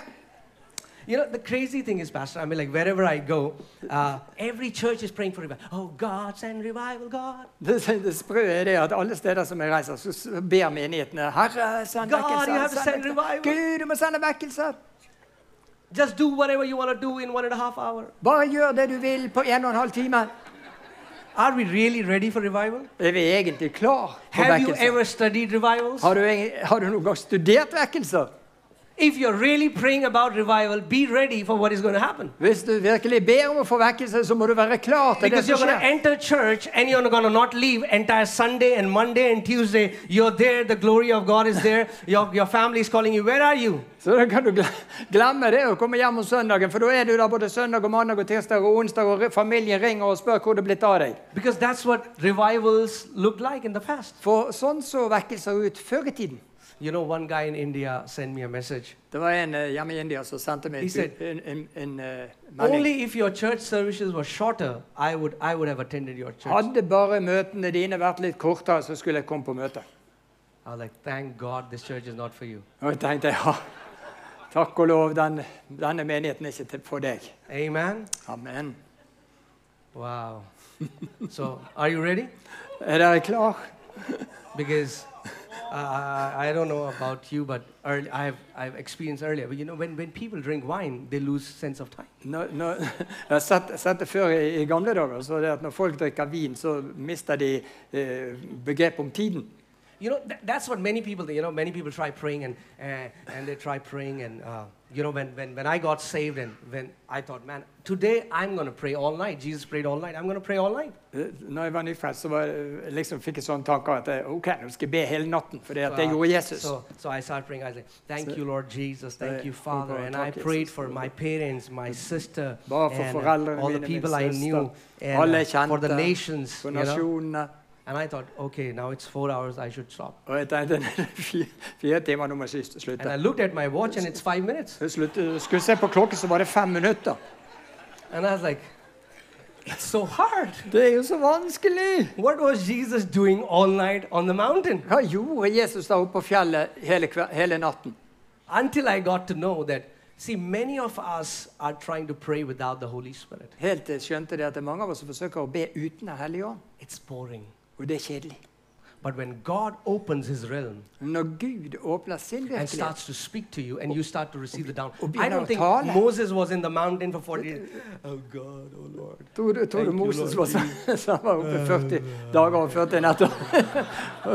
You know, the crazy thing is, Pastor, I mean, like wherever I go, uh, every church is praying for revival. Oh, God, send revival, God. Det, det sprø er det at alle steder som jeg reiser, så s- ber menighetene Herre, send God, you have vekkelser. to send Send revival." vekkelser. Gud, du må sende vekkelser. Just do whatever you want to do in one and a half hour. Bare gjør det du vil på en og en halv time. Are we really ready for revival? Er vi egentlig klar for Have you vekkelser? ever studied revivals? Har du, egen- har du noen gang studert vekkelser? If you're really praying about revival, be ready for what is going to happen. Hvis du virkelig ber om å få vekkelse, så må du være klar til det Because you're som going to skjer. enter church and you're going to not leave entire Sunday and Monday and Tuesday. You're there, the glory of God is there. Your, your family is calling you, Where are you? Så da kan du gle- glemme det å komme hjem om søndagen, for da er du der både søndag og mandag og tirsdag og onsdag, og re- familien ringer og spør hvor det er blitt av deg. Because that's what revivals looked like in the past. For sånn så vekkelser ut før i tiden. You know, one guy in India sent me a message. Det var en eh, hjemme i India som sendte meg He en, said- en, en, en eh, melding. Only if your church services were shorter, I would, I would have attended your church. Hadde bare møtene dine vært litt kortere, så skulle jeg komme på møte. I was like, Thank God this church is not for you. Og jeg tenkte ja, takk og lov, den, denne menigheten er ikke til for deg. Amen. Amen. Wow. so, are you ready? Er dere klar? because uh, I don't know about you, but early, I've, I've experienced earlier. But you know, when, when people drink wine, they lose sense of time. Nå, nå, jeg har sett, sett det før i, i gamle dager, så det at når folk drikker vin, så mister de eh, begrep om tiden. You know, tha- that's what many people. think, You know, many people try praying and uh, and they try praying and uh, you know, when, when when I got saved and when I thought, man, today I'm gonna pray all night. Jesus prayed all night. I'm gonna pray all night. Eh, Når jeg var nyfrelst, så var, jeg- liksom fikk jeg sånne tanker at jeg, ok, nå skal jeg be hele natten, for det, at det Uh, gjorde Jesus. So, so I started praying. I was like, Thank So- you, Lord Jesus. Thank Uh, you, oh Father. God, And I thank you, prayed Jesus. for my parents, my sister, Bare for and, uh, foreldrene all the mine, min people I søster, knew, and alle uh, jeg kjente, for the nations. for you know. nasjonene. And I thought, okay, now it's four hours, I should stop. Og jeg tenkte fire, fire timer, nå må jeg sys- And I slutte. looked at my watch and it's five minutes. Jeg slutt, skulle se på klokken, så var det fem minutter. And I was like, it's so hard. Det er jo så vanskelig! What was Jesus doing all night on the mountain? Hva gjorde Jesus der oppe på fjellet hele, kve- hele natten? Until I got to know that, see, many of us are trying to pray without the Holy Spirit. Helt til jeg skjønte det at det er mange av oss som forsøker å be uten Den hellige ånd. It's boring. Og det er kjedelig. But when God opens his realm Når Gud åpner sin and virkelighet starts to speak to you and you start to receive the down, Obi- I don't think Obi- Moses was in the mountain for 40 days. Oh God, oh Lord. Tror du, tror du Thank you, Moses var, Lord. så- så han var oppe 40 dager og 40 netter?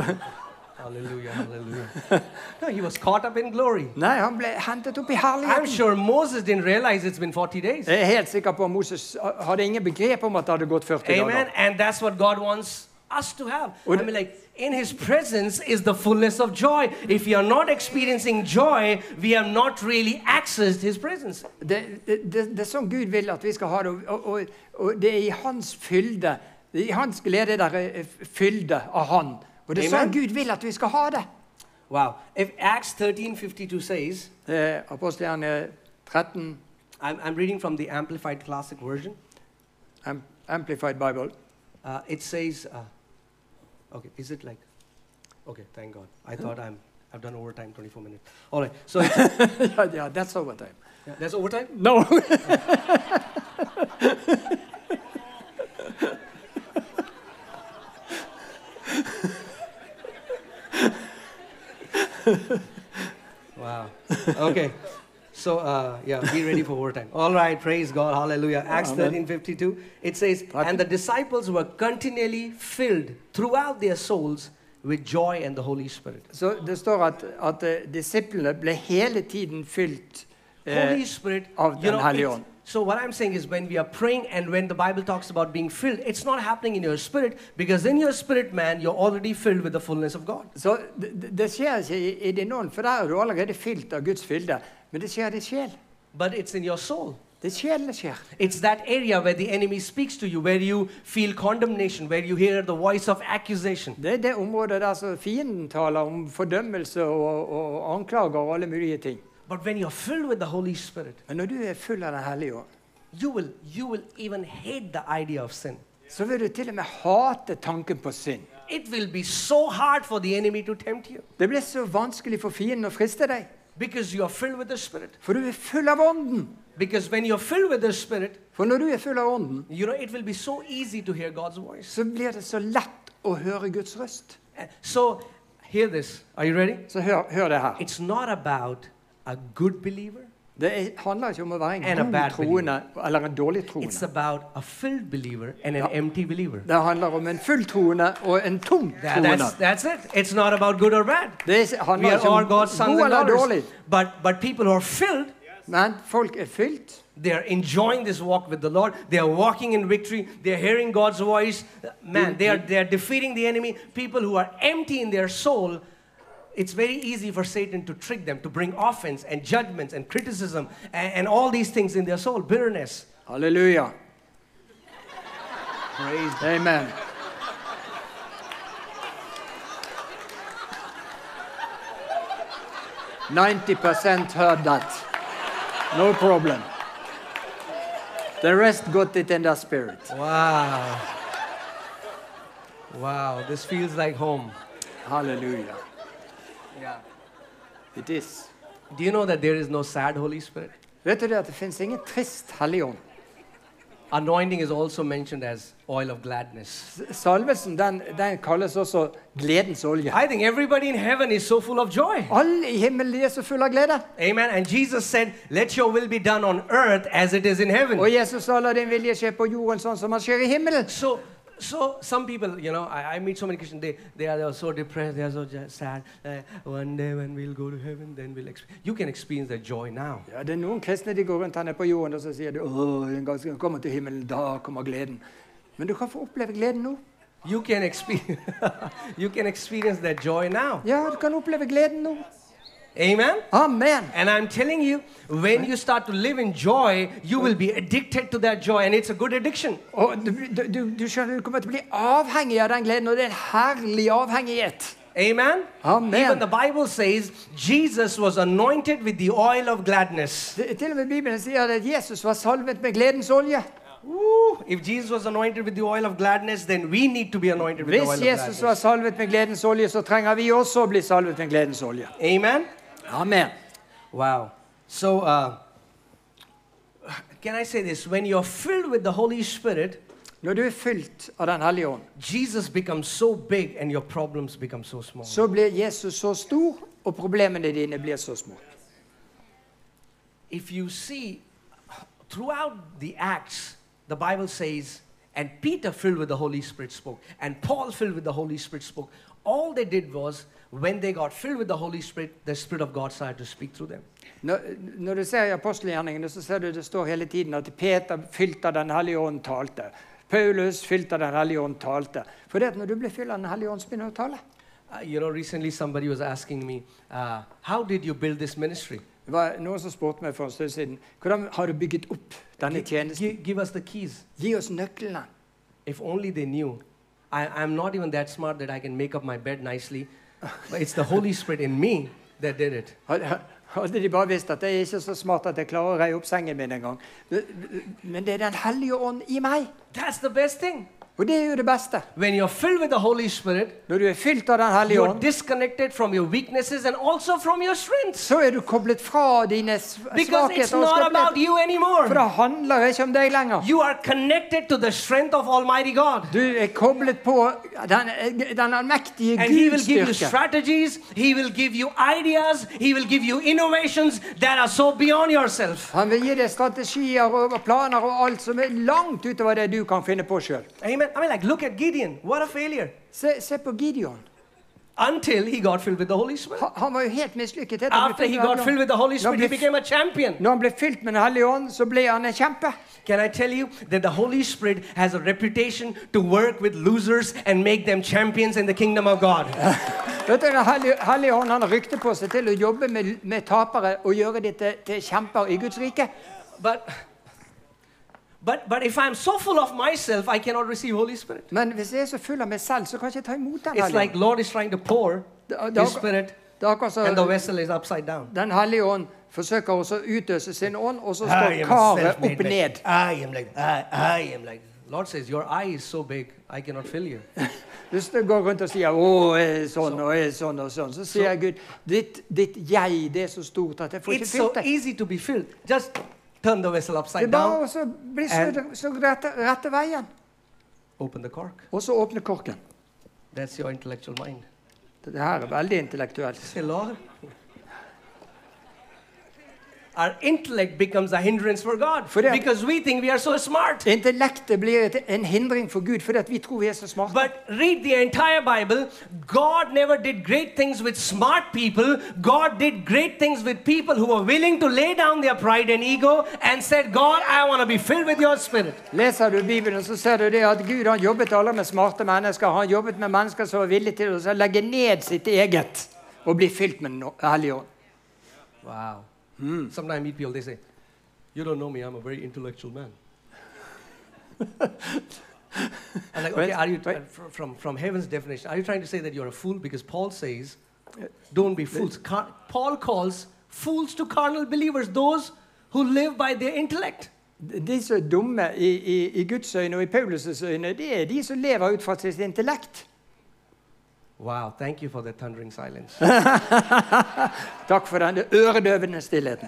Hallelujah, hallelujah. no, he was caught up in glory. Nei, han ble hentet opp i I'm herligheten. sure Moses didn't realize it's been 40 days. Jeg er helt sikker på at Moses hadde ingen begrep om at det hadde gått 40 Amen. dager. And that's what God wants us to have. I Und- mean, like, in His presence is the fullness of joy. If you are not experiencing joy, we have not really accessed His presence. Det, det, det, det er sånn Gud vil at vi skal ha det. Og, og, og det er i hans fylde. I hans glede der er eh, fylde av han. Og det er Amen. sånn Gud vil at vi skal ha det. Wow. If Acts 13:52 says, Eh, Apostelgjerne 13, I'm, I'm reading from the Amplified Classic Version. Am- Amplified Bible. Uh, it says, uh, okay, is it like, okay, thank God. I thought I'm, I've done overtime, 24 minutes. All right, so it's, ja, ja, that's over time. yeah, there's overtime? No. Wow. Okay. So uh, yeah, be ready for overtime. All right, praise God, hallelujah. Acts Amen. thirteen fifty two. It says, Pardon? and the disciples were continually filled throughout their souls with joy and the Holy Spirit. Så det står at, at eh, disiplene ble hele tiden fylt eh, Holy Spirit. of you the know, Holy it's- One. So what I'm saying is, when we are praying and when the Bible talks about being filled, it's not happening in your spirit because in your spirit, man, you're already filled with the fullness of God. Så det, det- det skjer ikke i, i din ånd, for der er du allerede fylt av Guds fylde. Men det skjer i sjel. But it's in your soul. Det er sjel det skjer. It's that area where the enemy speaks to you, where you feel condemnation, where you hear the voice of accusation. Det er det området der som fienden taler om fordømmelse og, og anklager og alle mulige ting. But when you're filled with the Holy Spirit, Men når du er full av Den hellige ånd, you will, you will even hate the idea of sin. så vil du til og med hate tanken på synd. It will be so hard for the enemy to tempt you Det blir så vanskelig for fienden å friste deg, because you are filled with the Spirit. for du er full av ånden. Because when you're filled with the Spirit, For når du er full av ånden, you know, it will be so easy to hear God's voice. så blir det så lett å høre Guds røst. Uh, So, hear this. Are you ready? Så hør, hør det her. It's not about a good believer, Det er, handler ikke om å være And a en god bad troende eller en dårlig it's troende. about a filled believer and an empty believer. Det handler om en full troende og en tom Tha- that's, troende. that's it. It's not about good or bad. Det er ikke- We handler are ikke all om God's sons god and eller daughters. dårlig, But, but people who are filled, men folk er fylt. They are enjoying this walk with the Lord. They are walking in victory. They are hearing God's voice. Man, they are, they are defeating the enemy. People who are empty in their soul, it's very easy for Satan to trick them, to bring offense and judgments and criticism and, and all these things in their soul, bitterness. Halleluja. Praise Amen. Ninety percent heard that. No problem. The rest got it in their spirit. Wow. Wow, this feels like home. Hallelujah. Yeah. It is. Do you know that there is no sad Holy Spirit? Vet du det at det fins ingen trist helligånd? Anointing is also mentioned as oil of gladness. S- Salvelsen den, den kalles også gledens olje. I think everybody in heaven is so full of joy. Alle i himmelen de er så fulle av glede. Amen. And Jesus said, Let your will be done on earth as it is in heaven. Og Jesus sa la din vilje skje på jorden sånn som han skjer i himmelen. So, so some people, you know, I, I meet so many Christians, they, they, are, they are so depressed, they are so ju- sad. Uh, one day when we'll go to heaven, then we'll experience. You can experience that joy now. Ja, det er noen kristne de går rundt her nede på jorden og så sier de, «Åh, en gang skal jeg komme til himmelen, da kommer gleden. Men du kan få oppleve gleden nå. You can experience, you can experience that joy now. Ja, du kan oppleve gleden nå. Amen. Amen. And I'm telling you, when you start to live in joy, you will be addicted to that joy, and it's a good addiction. Og du, du, du, du skjønner, du kommer til å bli avhengig av den gleden, og det er en herlig avhengighet. Amen. Amen. Even the Bible says Jesus was anointed with the oil of gladness. Det, til og med Bibelen sier at Jesus var salvet med gledens olje. Woo! If Jesus was anointed with the oil of gladness, then we need to be anointed with the Hvis oil Jesus of var gladness. salvet med gledens olje, så trenger vi også å bli salvet med gledens olje. Amen. Amen. Wow. So, uh, can I say this? When you're filled with the Holy Spirit, Når du er fylt av Den hellige ånd, Jesus becomes so big and your problems become so small. så blir Jesus så stor, og problemene dine blir så små. If you see throughout the Acts, the Bible says, and Peter filled with the Holy Spirit spoke, and Paul filled with the Holy Spirit spoke. All they did was when they got filled with the Holy Spirit, the Spirit of God started to speak through them. Når, når du ser i apostelgjerningene, så ser du det står hele tiden at Peter, fylt av Den hellige ånd, talte. Paulus, fylt av Den hellige ånd, talte. For det at når du blir fylt av Den hellige ånd, så begynner du å tale. Uh, you know, recently somebody was asking me, uh, How did you build this ministry? Det var noen som spurte meg for en stund siden hvordan har du bygget opp denne tjenesten. Gi- give us the keys. Gi oss nøklene. If only they knew. I, I'm not even that smart that I can make up my bed nicely. But it's the Holy Spirit in me that did it. Hadde hadde de bare visst at jeg er ikke så smart at jeg klarer å reie opp sengen min engang. Men det er Den hellige ånd i meg. That's the best thing. Og det er jo det beste. When you're filled with the Holy Spirit, Når du er fylt av Den hellige you're ånd, disconnected from your weaknesses and also from your strengths. så er du koblet fra dine sv- Because it's svakheter. og not skrøpeligheter. about you For det anymore. handler ikke om deg lenger. You are connected to the strength of Almighty God. Du er koblet på den, den allmektige And he will Guds give you styrke. strategies, he will give you ideas, he will give you innovations that are so beyond yourself. Han vil gi deg strategier og planer og alt som er langt utover det du kan finne på sjøl. Amen. I mean, like, look at Gideon. What a failure. Se, se på Gideon. Until he got filled with the Holy Spirit. Ha- Han var jo helt mislykket. etter å After bli he fylt med got filled Den with the Holy Spirit, he Lovely. became a champion. Når han ble fylt med Den hellige ånd, så ble han en kjempe. Can I tell you that the Holy Spirit has a reputation to work with losers and make them champions in the kingdom of God? Vet du, Den hellige, hellige ånd han rykte på seg til å jobbe med, med tapere og gjøre dem til, til kjemper i Guds rike. But but but if I'm so full of myself, I cannot receive Holy Spirit. Men hvis jeg er så full av meg selv, så kan jeg ikke ta imot Den It's hellige like Lord is trying to pour Da- da- his spirit ånd. Det er akkurat and the som vessel is upside down. Den hellige ånd forsøker også å utøse sin ånd, og så I står am karet self-made opp man. ned. I am like, I, I am like. Lord says, your eye is so big, I cannot fill you. Hvis du går rundt og sier 'Å, jeg er sånn og jeg er sånn', og sånn, så sier Gud ditt, 'Ditt jeg, det er så stort at jeg får It's ikke so fylt det'. easy to be filled. Just turn the vessel Det upside er bare down, å så bli snudd så rette, rette veien. open the cork. Og så åpne korken. That's your intellectual mind. Det her er veldig intellektuelt. Say, Lord, our intellect becomes a hindrance for God For that- because we think we are so smart. Intellektet blir et, en hindring for Gud fordi at vi tror vi er så smarte. But read the entire Bible. God never did great things with smart people. God did great things with people who were willing to lay down their pride and ego and said, God, I want to be filled with your spirit. Leser du Bibelen, så ser du det at Gud han jobbet aldri med smarte mennesker. Han jobbet med mennesker som var villige til å legge ned sitt eget og bli fylt med Den hellige ånd. Wow. Sometimes I meet people, they say, You don't know me, I'm a very intellectual man. I'm like, okay, Wait, are you wait. fr- from, from heaven's definition? Are you trying to say that you're a fool? Because Paul says, Don't be fools. Car- Paul calls fools to carnal believers those who live by their intellect. De som er dumme i, i, i Guds øyne og i Paulus' øyne, det er de som lever ut fra sitt intellekt. Wow, thank you for the thundering silence. Takk for den øredøvende stillheten.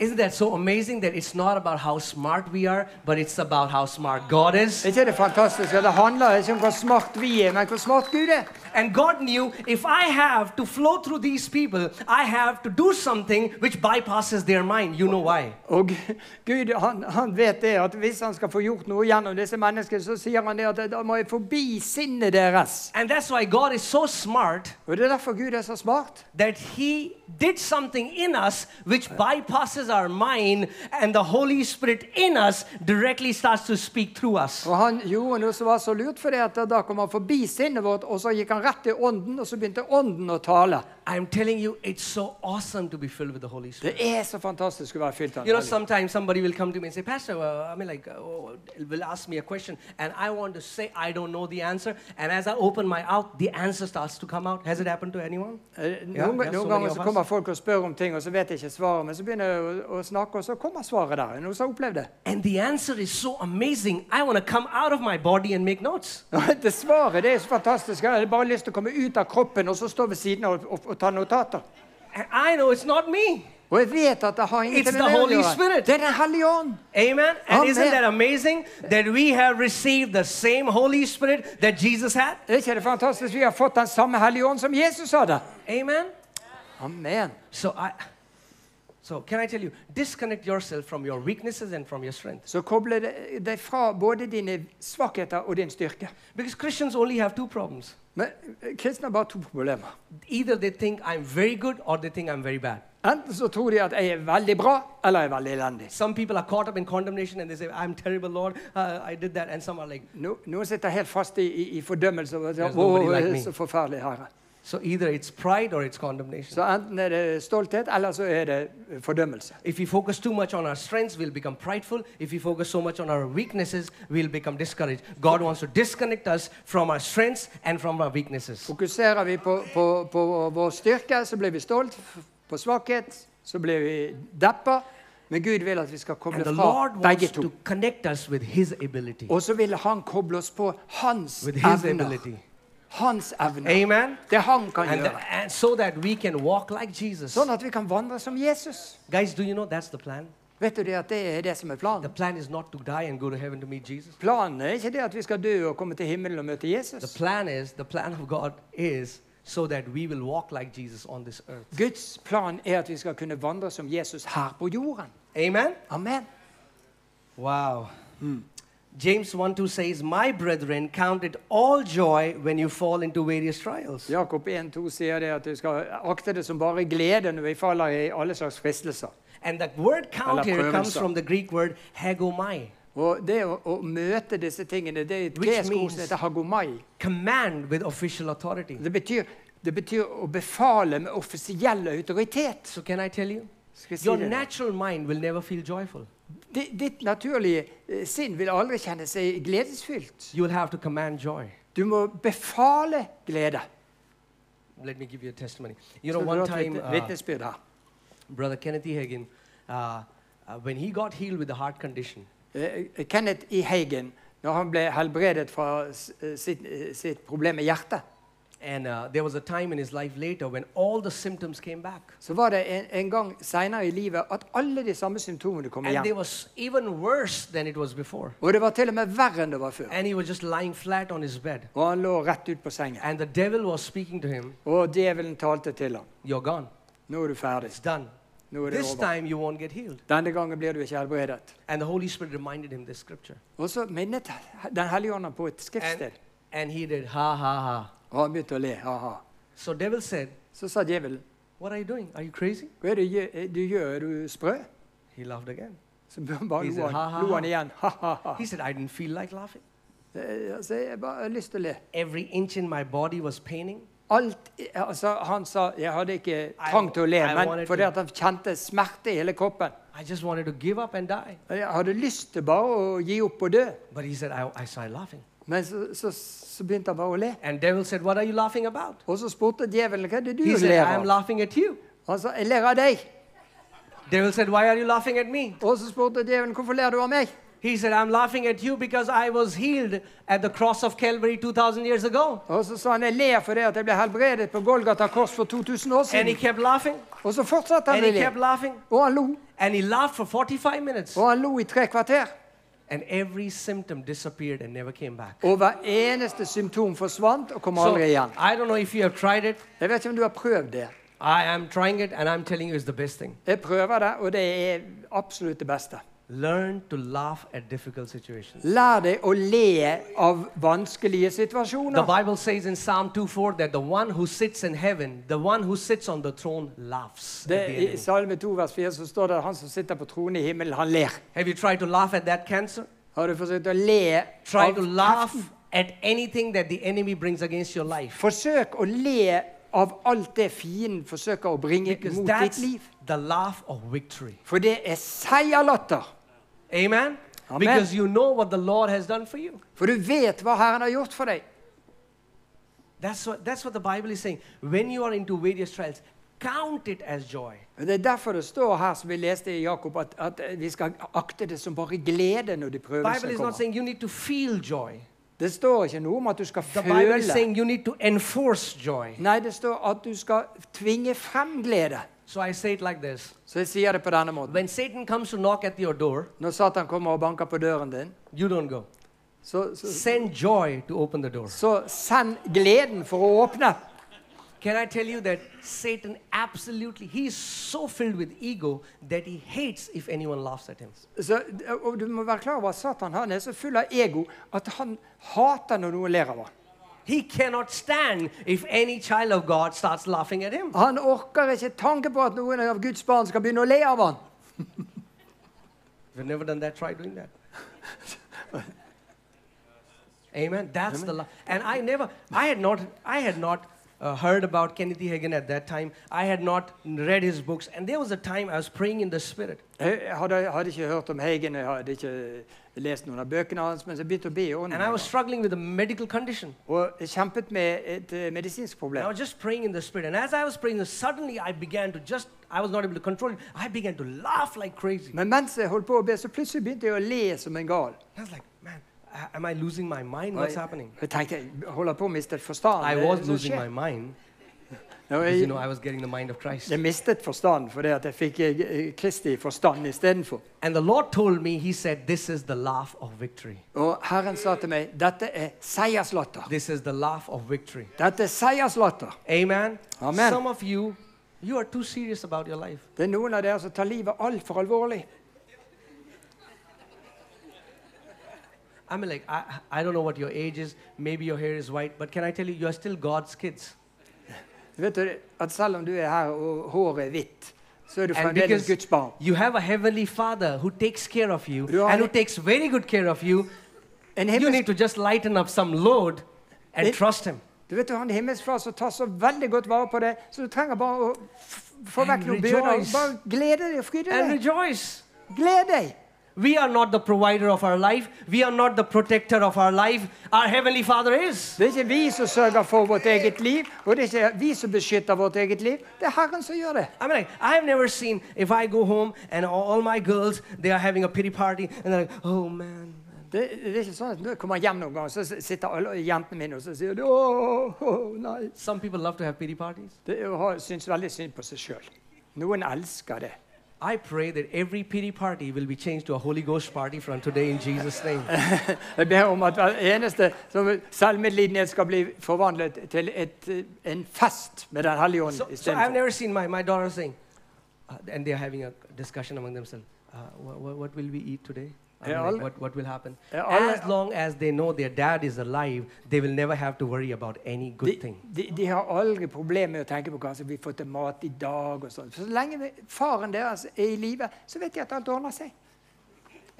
Isn't that so amazing that it's not about how smart we are, but it's about how smart God is? Er ikke det fantastisk? at Det handler ikke om hvor smart vi er, men hvor smart Gud er. And God knew if I have to flow through these people, I have to do something which bypasses their mind. You know why? Og Gu- Gud han, han vet det at hvis han skal få gjort noe gjennom disse menneskene, så sier han det at da må jeg forbi sinnet deres. And that's why God is so smart Og Det er derfor Gud er så smart. that He did something in us which bypasses our mind, and the Holy Spirit in us directly starts to speak through us. Og Han gjorde noe som var så lurt, for det at da kom han forbi sinnet vårt, og så gikk han rett til ånden, og så begynte ånden å tale. I'm telling you, it's so awesome to be filled with the Holy Spirit. Det er så fantastisk å være fylt av You know, Den hellige ånd. sometimes somebody will come to me and say, Pastor, uh, I mean, like, uh, oh, will ask me a question, and I want to say I don't know the answer. And as I open my mouth, the answer starts to come out. Has it happened to anyone? Eh, Noen, Ja, det er så noen many ganger of så us. kommer folk og spør om ting, og så vet jeg ikke svaret, men så begynner jeg å, å snakke, og så kommer svaret der. Er det Noen som har opplevd det. And the answer is so amazing. I want to come out of my body and make notes. Det svaret det er så fantastisk. Jeg har bare lyst til å komme ut av kroppen og så stå ved siden av og, og, og ta notater. And I know it's not me. Og jeg vet at det har It's ingenting the med meg å Holy gjøre. Spirit. Det er Den hellige ånd. Amen. And isn't Amen. that amazing that we have received the same Holy Spirit that Jesus had? Er ikke det fantastisk? Vi har fått den samme hellige ånd som Jesus hadde. Amen. Amen. So I. So can I tell you, disconnect yourself from your weaknesses and from your strength. Så koble deg deg fra både dine svakheter og din styrke. Because Christians only have two problems. Men eh, kristne har bare to problemer. Either they think I'm very good or they think I'm very bad. Enten så tror de at jeg er veldig bra, eller jeg er veldig elendig. Some people are caught up in condemnation and they say, I'm terrible, Lord, uh, I did that. And some are like, No, noen sitter helt fast i, i, i fordømmelse og sier There's nobody 'Å, like me.' så forferdelig, Herre'. so either it's pride or it's condemnation. Så enten er det stolthet, eller så er det fordømmelse. if we focus too much on our strengths, we'll become prideful. If we focus so much on our weaknesses, we'll become discouraged. God wants to disconnect us from our strengths and from our weaknesses. Fokuserer vi på, på, på vår styrke, så blir vi stolt. F- På svakhet, så blir vi deppa. Men Gud vil at vi skal koble And the fra Lord begge wants to. to connect us with His ability. Og så vil Han koble oss på hans With His evner. ability. Hans evner. Amen? Det han kan And, gjøre. and so that we can walk like Jesus. Sånn at vi kan vandre som Jesus. Guys, do you know that's the plan? Vet du det at det er det som er The planen? plan is not to die and go to heaven to meet Jesus. Planen er ikke det at vi skal dø og komme til himmelen og møte The Jesus. plan is, the plan of God is so that we will walk like Jesus on this earth. Guds plan er at vi skal kunne vandre som Jesus her på jorden. Amen? Amen. Wow. James 1 2 says, My brethren, count it all joy when you fall into various trials. Jakob 1,2 sier det at du skal akte det som bare glede når vi faller i alle slags fristelser. And the word count Alla here comes prövelser. from the Greek word hagomai, Og det å, å møte disse tingene, det er et Which gresk ord means- som heter hagomai. command with official authority. Det betyr, det betyr å befale med offisiell autoritet. So, can I tell you? Skal jeg si Your det? da? natural mind will never feel joyful. Di- Ditt naturlige eh, sinn vil aldri kjenne seg gledesfylt. You will have to command joy. Du må befale glede. Let me give you a testimony. You know, Skal du one ha et time, vitne- uh, vitnesbyrd her. Brother Kenneth E. Hagin, uh, uh, when he got healed with the heart condition, Eh, Kenneth E. Hagen, når han ble helbredet fra s- eh, sitt, eh, sitt problem med hjertet, and uh, there was a time in his life later when all the symptoms came back. så var det en, en gang seinere i livet at alle de samme symptomene kom And they igjen. was even worse than it was before. Og det var til og med verre enn det var før. And he was just lying flat on his bed. Og han lå rett ut på sengen. And the devil was speaking to him, Og djevelen talte til ham. You're gone. Nå er du ferdig. It's done. Nå er det This over. time you won't get healed. Denne gangen blir du ikke helbredet. And the Holy Spirit reminded him this scripture. Og så minnet Den hellige ånd ham på et And, skriftsted. and he did, ha, ha, ha. Og han begynte å le. Ha-ha. So devil said, Så sa djevelen, What are you doing? Are you crazy? hva er det du gjør- du gjør? Er du sprø? He laughed again. Så bare He lo said, han, ha-ha-ha. lo han igjen. Ha-ha-ha. He said, I didn't feel like laughing. Altså, jeg bare har lyst til å le. Every inch in my body was paining. Alt, altså, han sa jeg hadde ikke I- trang til å le, I men wanted fordi to- at han kjente smerte i hele kroppen. I just wanted to give up and die. Jeg hadde lyst til bare å gi opp og dø, But he said, I, I started laughing. men så, så, så begynte han bare å le. And devil said, What are you laughing about? Og så spurte djevelen hva er det du He said, ler I'm av. laughing at you. Han sa jeg ler av deg. Devil said, Why are you laughing at me? Og så spurte djevelen hvorfor ler du av meg? He said, I'm laughing at you because I was healed at the cross of Calvary 2,000 years ago. Og så sa han jeg ler fordi at jeg ble helbredet på Golgata kors for 2000 år And he siden. kept laughing, Og så fortsatte and han å he le. kept laughing, Og han lo. and he laughed for 45 minutes. Og han lo i tre kvarter. And every symptom disappeared and never came back. Og hver eneste symptom forsvant og kom So, aldri igjen. I don't know if you have tried it. Jeg vet ikke om du har prøvd det. I am trying it, and I'm telling you, it's the best thing. Jeg prøver det, og det er absolutt det beste. Learn to laugh at difficult situations. Lær deg å le av vanskelige The situasjoner. Bible says in Psalm 2:4 that the one who sits in heaven, the one who sits on the throne, laughs. Det, at the I enemy. Salme 2 vers 4 så står det at han som sitter på tronen i himmelen, han ler. Have you tried to laugh at that cancer? Har du forsøkt å le Try av to laugh at anything that the enemy brings against your life. Forsøk å le av alt det fienden forsøker å bringe Because mot ditt that's liv. the laugh of victory. For det er seierlatter. Amen? Amen. Because you know what the Lord has done for you. For du vet hva Herren har gjort for deg. That's what, that's what the Bible is saying. When you are into various trials, count it as joy. Og Det er derfor det står her, som vi leste i Jakob, at, at vi skal akte det som bare glede når The de Bible prøvelsene is not kommer. saying you need to feel joy. Det står ikke noe om at du skal The Bible is føle. saying you need to enforce joy. Nei, det står at du skal tvinge frem glede. So I say it like this. Så jeg sier det på denne måten. When Satan comes to knock at your door, Når Satan kommer og banker på døren din, you don't go. så, så, Send joy to open the door. så send gleden for å åpne. Can I tell you that Satan absolutely, he is so filled with ego that he hates if anyone laughs at him. Så, og du må være klar over at Satan han er så full av ego at han hater når noen ler av ham. He cannot stand if any child of God starts laughing at him. Han orker ikke tanken på at noen av Guds barn skal begynne å le av han. If you've never done that, try doing that. Amen. That's the love. And I never, I had not, I had not uh, heard about Kenneth Hagin at that time. I had not read his books. And there was a time I was praying in the spirit. Jeg hadde, hadde ikke hørt om Heigen, jeg hadde ikke lest noen av bøkene hans, men så begynte jeg å be i And I was ånden. struggling with a medical condition. Og jeg kjempet med et eh, medisinsk And I problem. was just praying in the spirit. And as I was praying, suddenly I began to just, I was not able to control it. I began to laugh like crazy. Men mens jeg holdt på å be, så plutselig begynte jeg å le som en gal. I was like, man, a- am I losing my mind? Og What's jeg, happening? jeg tenkte jeg holder på å miste forstanden. I Det er was det som losing skjer. my mind Og because, you know, jeg, I was getting the mind of Christ. jeg mistet forstanden fordi at jeg fikk eh, eh, Kristi forstand istedenfor. And the Lord told me, He said, This is the laugh of victory. Og Herren sa til meg dette er seierslatter. This is the laugh of victory. Dette er seierslatter. Amen. Amen. Some of you, you are too serious about your life. Det er noen av dere som tar livet altfor alvorlig. I mean, like, I, I don't know what your age is. Maybe your hair is white, but can I tell you, you are still God's kids. Vet du at selv om du er her og håret er hvitt, så er du And fremdeles because Guds barn. you have a heavenly Father who takes care of you Du har and who en- takes very good care of you, En you himmelsk, need to just lighten up some load and It- trust Him. du vet jo han himmelsk far som tar så veldig godt vare på deg, så du trenger bare å f- få And vekk noen byrder. rejoice. Bare glede deg og fryde And deg. rejoice. Gled deg! We are not the provider of our life. We are not the protector of our life. Our Heavenly Father is. Det er ikke vi som sørger for vårt eget liv, og det er ikke vi som beskytter vårt eget liv. Det er Herren som gjør det. I mean, like, I've never seen if I go home and all all my girls they are having a pity party and they're like, oh man. Det, det er ikke sånn at Når jeg kommer hjem noen gang, så s- sitter alle jentene mine og så sier de, åh, åh, nei. Some people love to have pity parties. Det er å ha- syns veldig synd på seg sjøl. Noen elsker det. I pray that every pity party will be changed to a Holy Ghost party from today in Jesus' name. Jeg ber om at hver eneste som selvmedlidenhet skal bli forvandlet til et, en fest med Den hellige ånd So, so I've istedenfor. never seen my, my daughter saying, uh, and they're having a discussion among themselves, uh, what, what will we eat today? I mean, Yeah, like, all- what, what will happen? Yeah, all- As long as they know their dad is alive, they will never have to worry about any De, good thing. de, de har aldri problemer med å tenke på hva som vi får til mat i dag. og sånn. Så lenge vi- faren deres er i live, så vet de at alt ordner seg.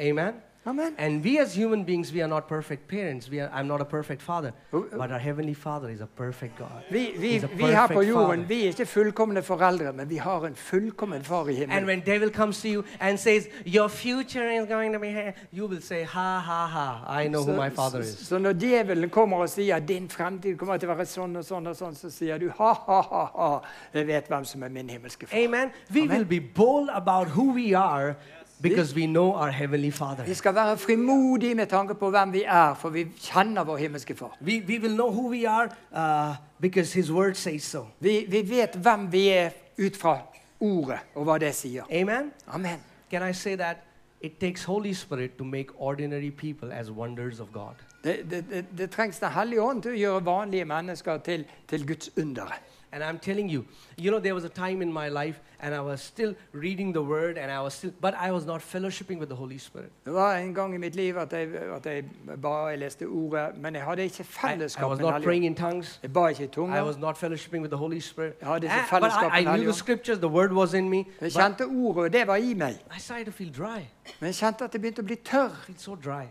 Amen? Amen. And we as human beings, we are not perfect parents. We are, I'm not a perfect father. Oh, oh. But our Heavenly Father is a perfect God. Vi, vi, He's a vi her på perfect jorden father. vi er ikke fullkomne foreldre, men vi har en fullkommen far i And himmelen. when devil comes to you and says, your future is going to be here, you will say, ha, ha, ha, I know who my father så, is. så når djevelen kommer og sier at din fremtid kommer til å være sånn og sånn, og sånn, så sier du ha-ha-ha, jeg vet hvem som er min himmelske far. Amen. We Amen. will be bold about who we are because we know our Heavenly Father. Vi skal være frimodige med tanke på hvem vi er, for vi kjenner vår himmelske far. We, we will know who we are uh, because His Word says so. Vi, vi vet hvem vi er ut fra ordet og hva det sier. Amen. Amen. Can I say that? It takes Holy Spirit to make ordinary people as wonders of God. Det, det, det, det trengs Den hellige ånd til å gjøre vanlige mennesker til, til Guds undere. And I'm telling you, you know, there was a time in my life and I was still reading the Word and I was still, but I was not fellowshipping with the Holy Spirit. Det var en gang i mitt liv at jeg, at jeg bare leste ordet, men jeg hadde ikke I, I fellesskap was med not Den hellige praying ånd. in tongues. Jeg ba ikke i I tunger. was not fellowshipping with the Holy Spirit. Jeg hadde ikke Ah, but fellesskap I, med Den I knew hellige the ånd. scriptures, the Word was in me. Jeg but kjente ordet, og det var i meg. I started to feel dry. Men jeg kjente at jeg begynte å bli tørr. feel so dry.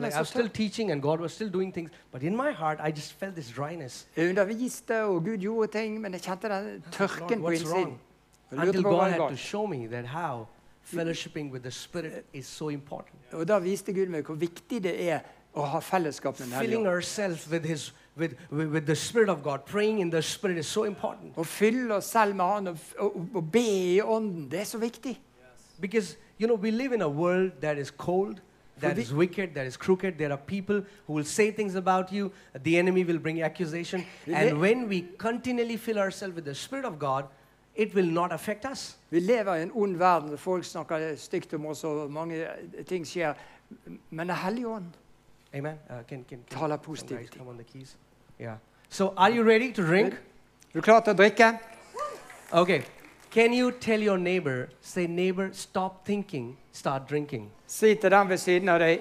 Like meg I så was still tørr. teaching and God was still doing things, but in my heart I just felt this dryness. Jeg underviste, og Gud gjorde ting, men jeg kjente den Lord, tørken på what's innsiden. wrong? Jeg lurte Until på hva God det had var. to show me that how fellowshipping with the Spirit is so important. Og da viste Gud meg hvor viktig det er å ha fellesskap med Den hellige Filling ånd. ourselves with His with, with with the Spirit of God, praying in the Spirit is so important Å fylle oss selv med Han og, f- og, og be i ånden, det er så viktig. because you know we live in a world that is cold. That vi- is wicked, that is crooked. There are people who will say things about you. The enemy will bring accusation. Vi And le- when we continually fill ourselves with the Spirit of God, it will not affect us. Vi lever i en ond verden der folk snakker stygt om oss, og mange ting skjer. Men Den hellige ånd Amen. Uh, can, can, can taler some guys positivt. come on the keys? Yeah. So, are you ready to drink? Er du klar til å drikke? Okay. Can you tell your neighbor, say, neighbor, stop thinking, start drinking? Si til den ved siden av deg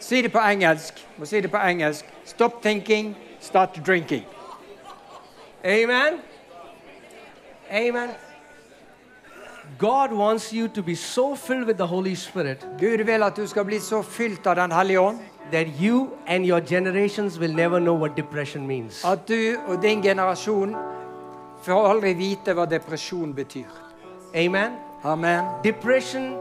Si det på engelsk. Må si det på engelsk. Stop thinking, start drinking. Amen. Amen. God wants you to be so filled with the Holy Spirit Gud vil at du skal bli så fylt av Den hellige ånd that you and your generations will never know what depression means. at du og din generasjon får aldri vite hva depresjon betyr. Amen. Amen. Depression,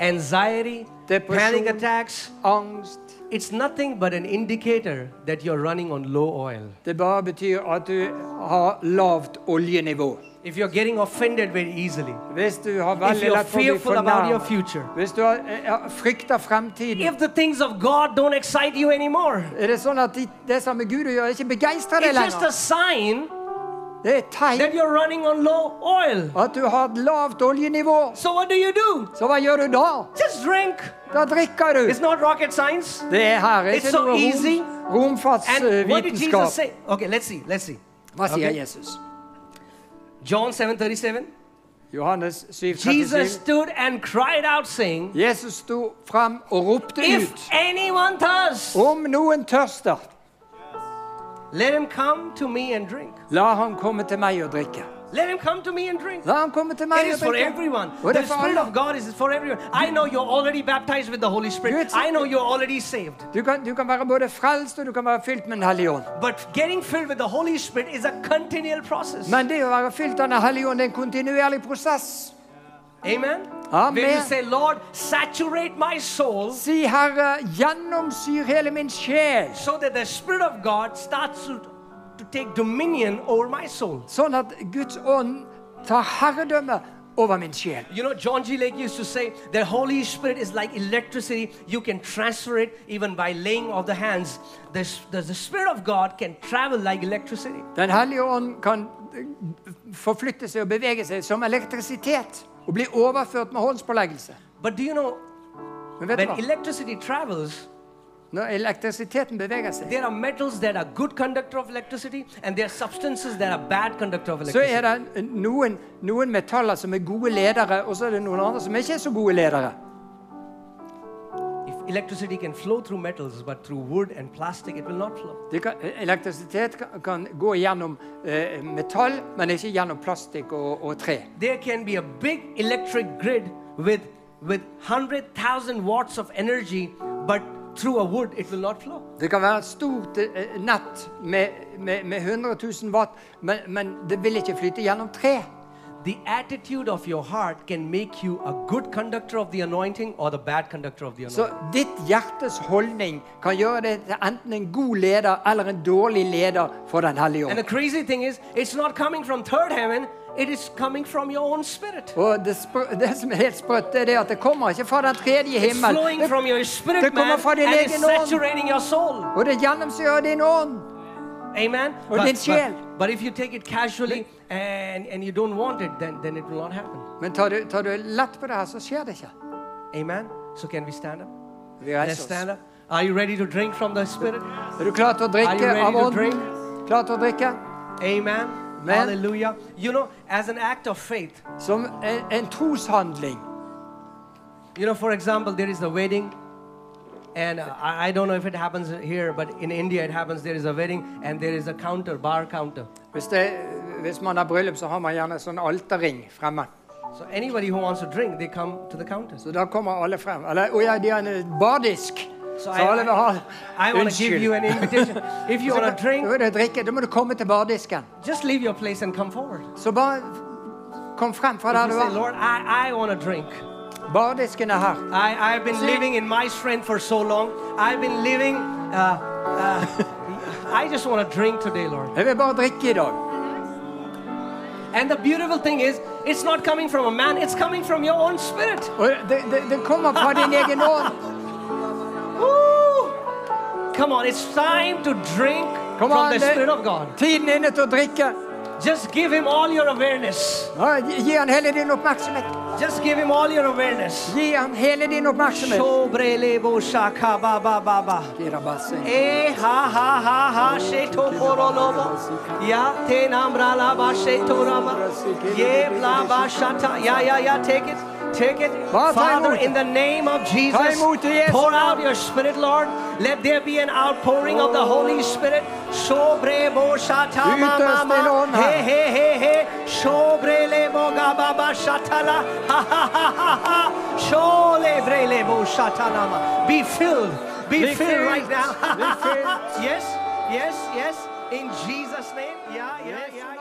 anxiety, Depression. panic attacks, Angst. it's nothing but an indicator that you're running on low oil. Det bare betyr at du har lavt oljenivå. If you're getting offended very easily, Hvis du har if veldig you're lett for å bli fearful about your fornærmet future, Hvis du har, eh, ja, frykter fremtiden if the things of God don't excite you anymore, Er det sånn at de, det som er Gud å gjøre, ikke begeistrer deg it's just a lenger? sign Det er et tegn that you're running on low oil. at du har et lavt oljenivå. So what do you do? Så hva gjør du da? Just drink. Da drikker du. It's not rocket science. Det er her It's ikke so noe easy. rom, And what did Jesus romfartsvitenskap. say? Okay, let's see. Let's see. Hva sier Okay. Jesus? John 7:37. Johannes 7, Jesus 37. stood and cried out, saying, Jesus sto frem og ropte ut. "If anyone thirsts, Om noen tørster, let him come to me and drink. la han komme til meg og drikke. Let him come to me and drink." La han komme til It meg is og for drikke. everyone. Og det The er for Spirit alle. of God is for everyone. I know you're already baptized with the Holy Spirit. Good. I know you're already saved. Du kan, du kan være både frelst og du kan være fylt med Den hellige ånd. But getting filled with the Holy Spirit is a continual process. Men det å være fylt av Den hellige ånd er en kontinuerlig prosess. Amen. Amen. When you say, Lord, saturate my soul Si, Herre, gjennomsyr hele min sjel, so that the Spirit of God starts to, to take dominion over my soul. sånn at Guds ånd tar herredømme over min sjel. You know, John G. Lake used to say the Holy Spirit is like electricity. You can transfer it even by laying of the hands. The, the, the Spirit of God can travel like electricity. Den hellige ånd kan eh, forflytte seg og bevege seg som elektrisitet og bli overført med håndspåleggelse. But do you know, Men vet when du hva? electricity travels, Når elektrisiteten beveger seg, there are metals that are good conductor of electricity and there are substances that are bad conductor of så er electricity. det noen, noen metaller som er gode ledere, og så er det noen andre som ikke er så gode ledere. If electricity can flow through metals, but through wood and plastic, it will not flow. Det kan, elektrisitet kan, kan gå gjennom eh, metall, men ikke gjennom plastikk og, og tre. There can be a big electric grid with with 100,000 watts of energy, but through a wood, it will not flow. Det kan være et stort eh, nett med, med, med 100 000 watt, men, men det vil ikke flyte gjennom tre. The attitude of your heart can make you a good conductor of the anointing or the bad conductor of the anointing. Så ditt hjertes holdning kan gjøre deg til enten en god leder eller en dårlig leder for Den hellige and the ånd. crazy thing is, it's not coming from third heaven, it is coming from your own spirit. Og det, sprø- det som er helt sprøtt, det er det at det kommer ikke fra den tredje It's himmel. flowing Det, from your det spirit, kommer man, fra and din it's egen ånd. saturating your soul. og det gjennomsyrer din ånd. Amen. Og din sjel. But, but if you take it casually and, and you don't want it, then, then it will not happen. Men tar du, tar du lett på det her, så skjer det ikke. Amen. So can we stand up? Vi Let's reiser oss. stand up. Are you ready to drink from the Spirit? Er du klar til å Are you drikke ready av to ånden? Klar til å drikke? Amen. Amen. Hallelujah. You know, as an act of faith, Som en, en troshandling. you know, for example, there is a wedding, and uh, I, I don't know if it happens here, but in India it happens. There is a wedding, and there is a counter, bar counter. Hvis, det, hvis man har bryllup, så har man gjerne sånn alterring fremme. So anybody who wants to drink, they come to the counter. Så da kommer alle frem. Eller å ja, de har en eh, bardisk. So Så I- alle vil ha I want to give you Unnskyld. an invitation. If you Så want kan- to drink, Da vil du drikke. Da må du komme til bardisken. just leave your place and come forward. Så bare kom frem fra der You du say, var. Lord, I, I want to drink. Bardisken er her. I, I've been See? living in my strength for so long. I've been living. Uh, uh, I just want to drink today, Lord. Jeg vil bare drikke i dag. And the beautiful thing is, it's not coming from a man, it's coming from your own spirit. Og det, det, det kommer fra din egen ånd. Woo! Come on, it's time to drink Come from on, the det- Spirit of God. Tiden er inne til å drikke. Just give Him all your awareness. Ja, gi- gi han hele din oppmerksomhet. Just give Him all your awareness. Gi han hele din oppmerksomhet. Shobrelebo shaka ba ba ba ba. Eh, ha, ha, ha, ha, she to koro lobo. Ya, te nam ra la ba, she to rama. Ye, bla, ba, shata. Yeah, yeah, yeah, take it. Take it. Bara ta Father, emot in the name of Jesus, emot det i Jesu pour namn. out your spirit, Lord. Let there be an outpouring of the Holy Spirit. Sobre bo shata ma ma Utös din ma. ånd här. He he he he. Sobre le bo ga ba ba shatala. Ha ha ha ha ha. Shole bre le bo shatana ma. Be filled. Be, Be filled right filled. now. Be filled. yes, yes, yes. In Jesus' name. Yeah, yeah, yeah.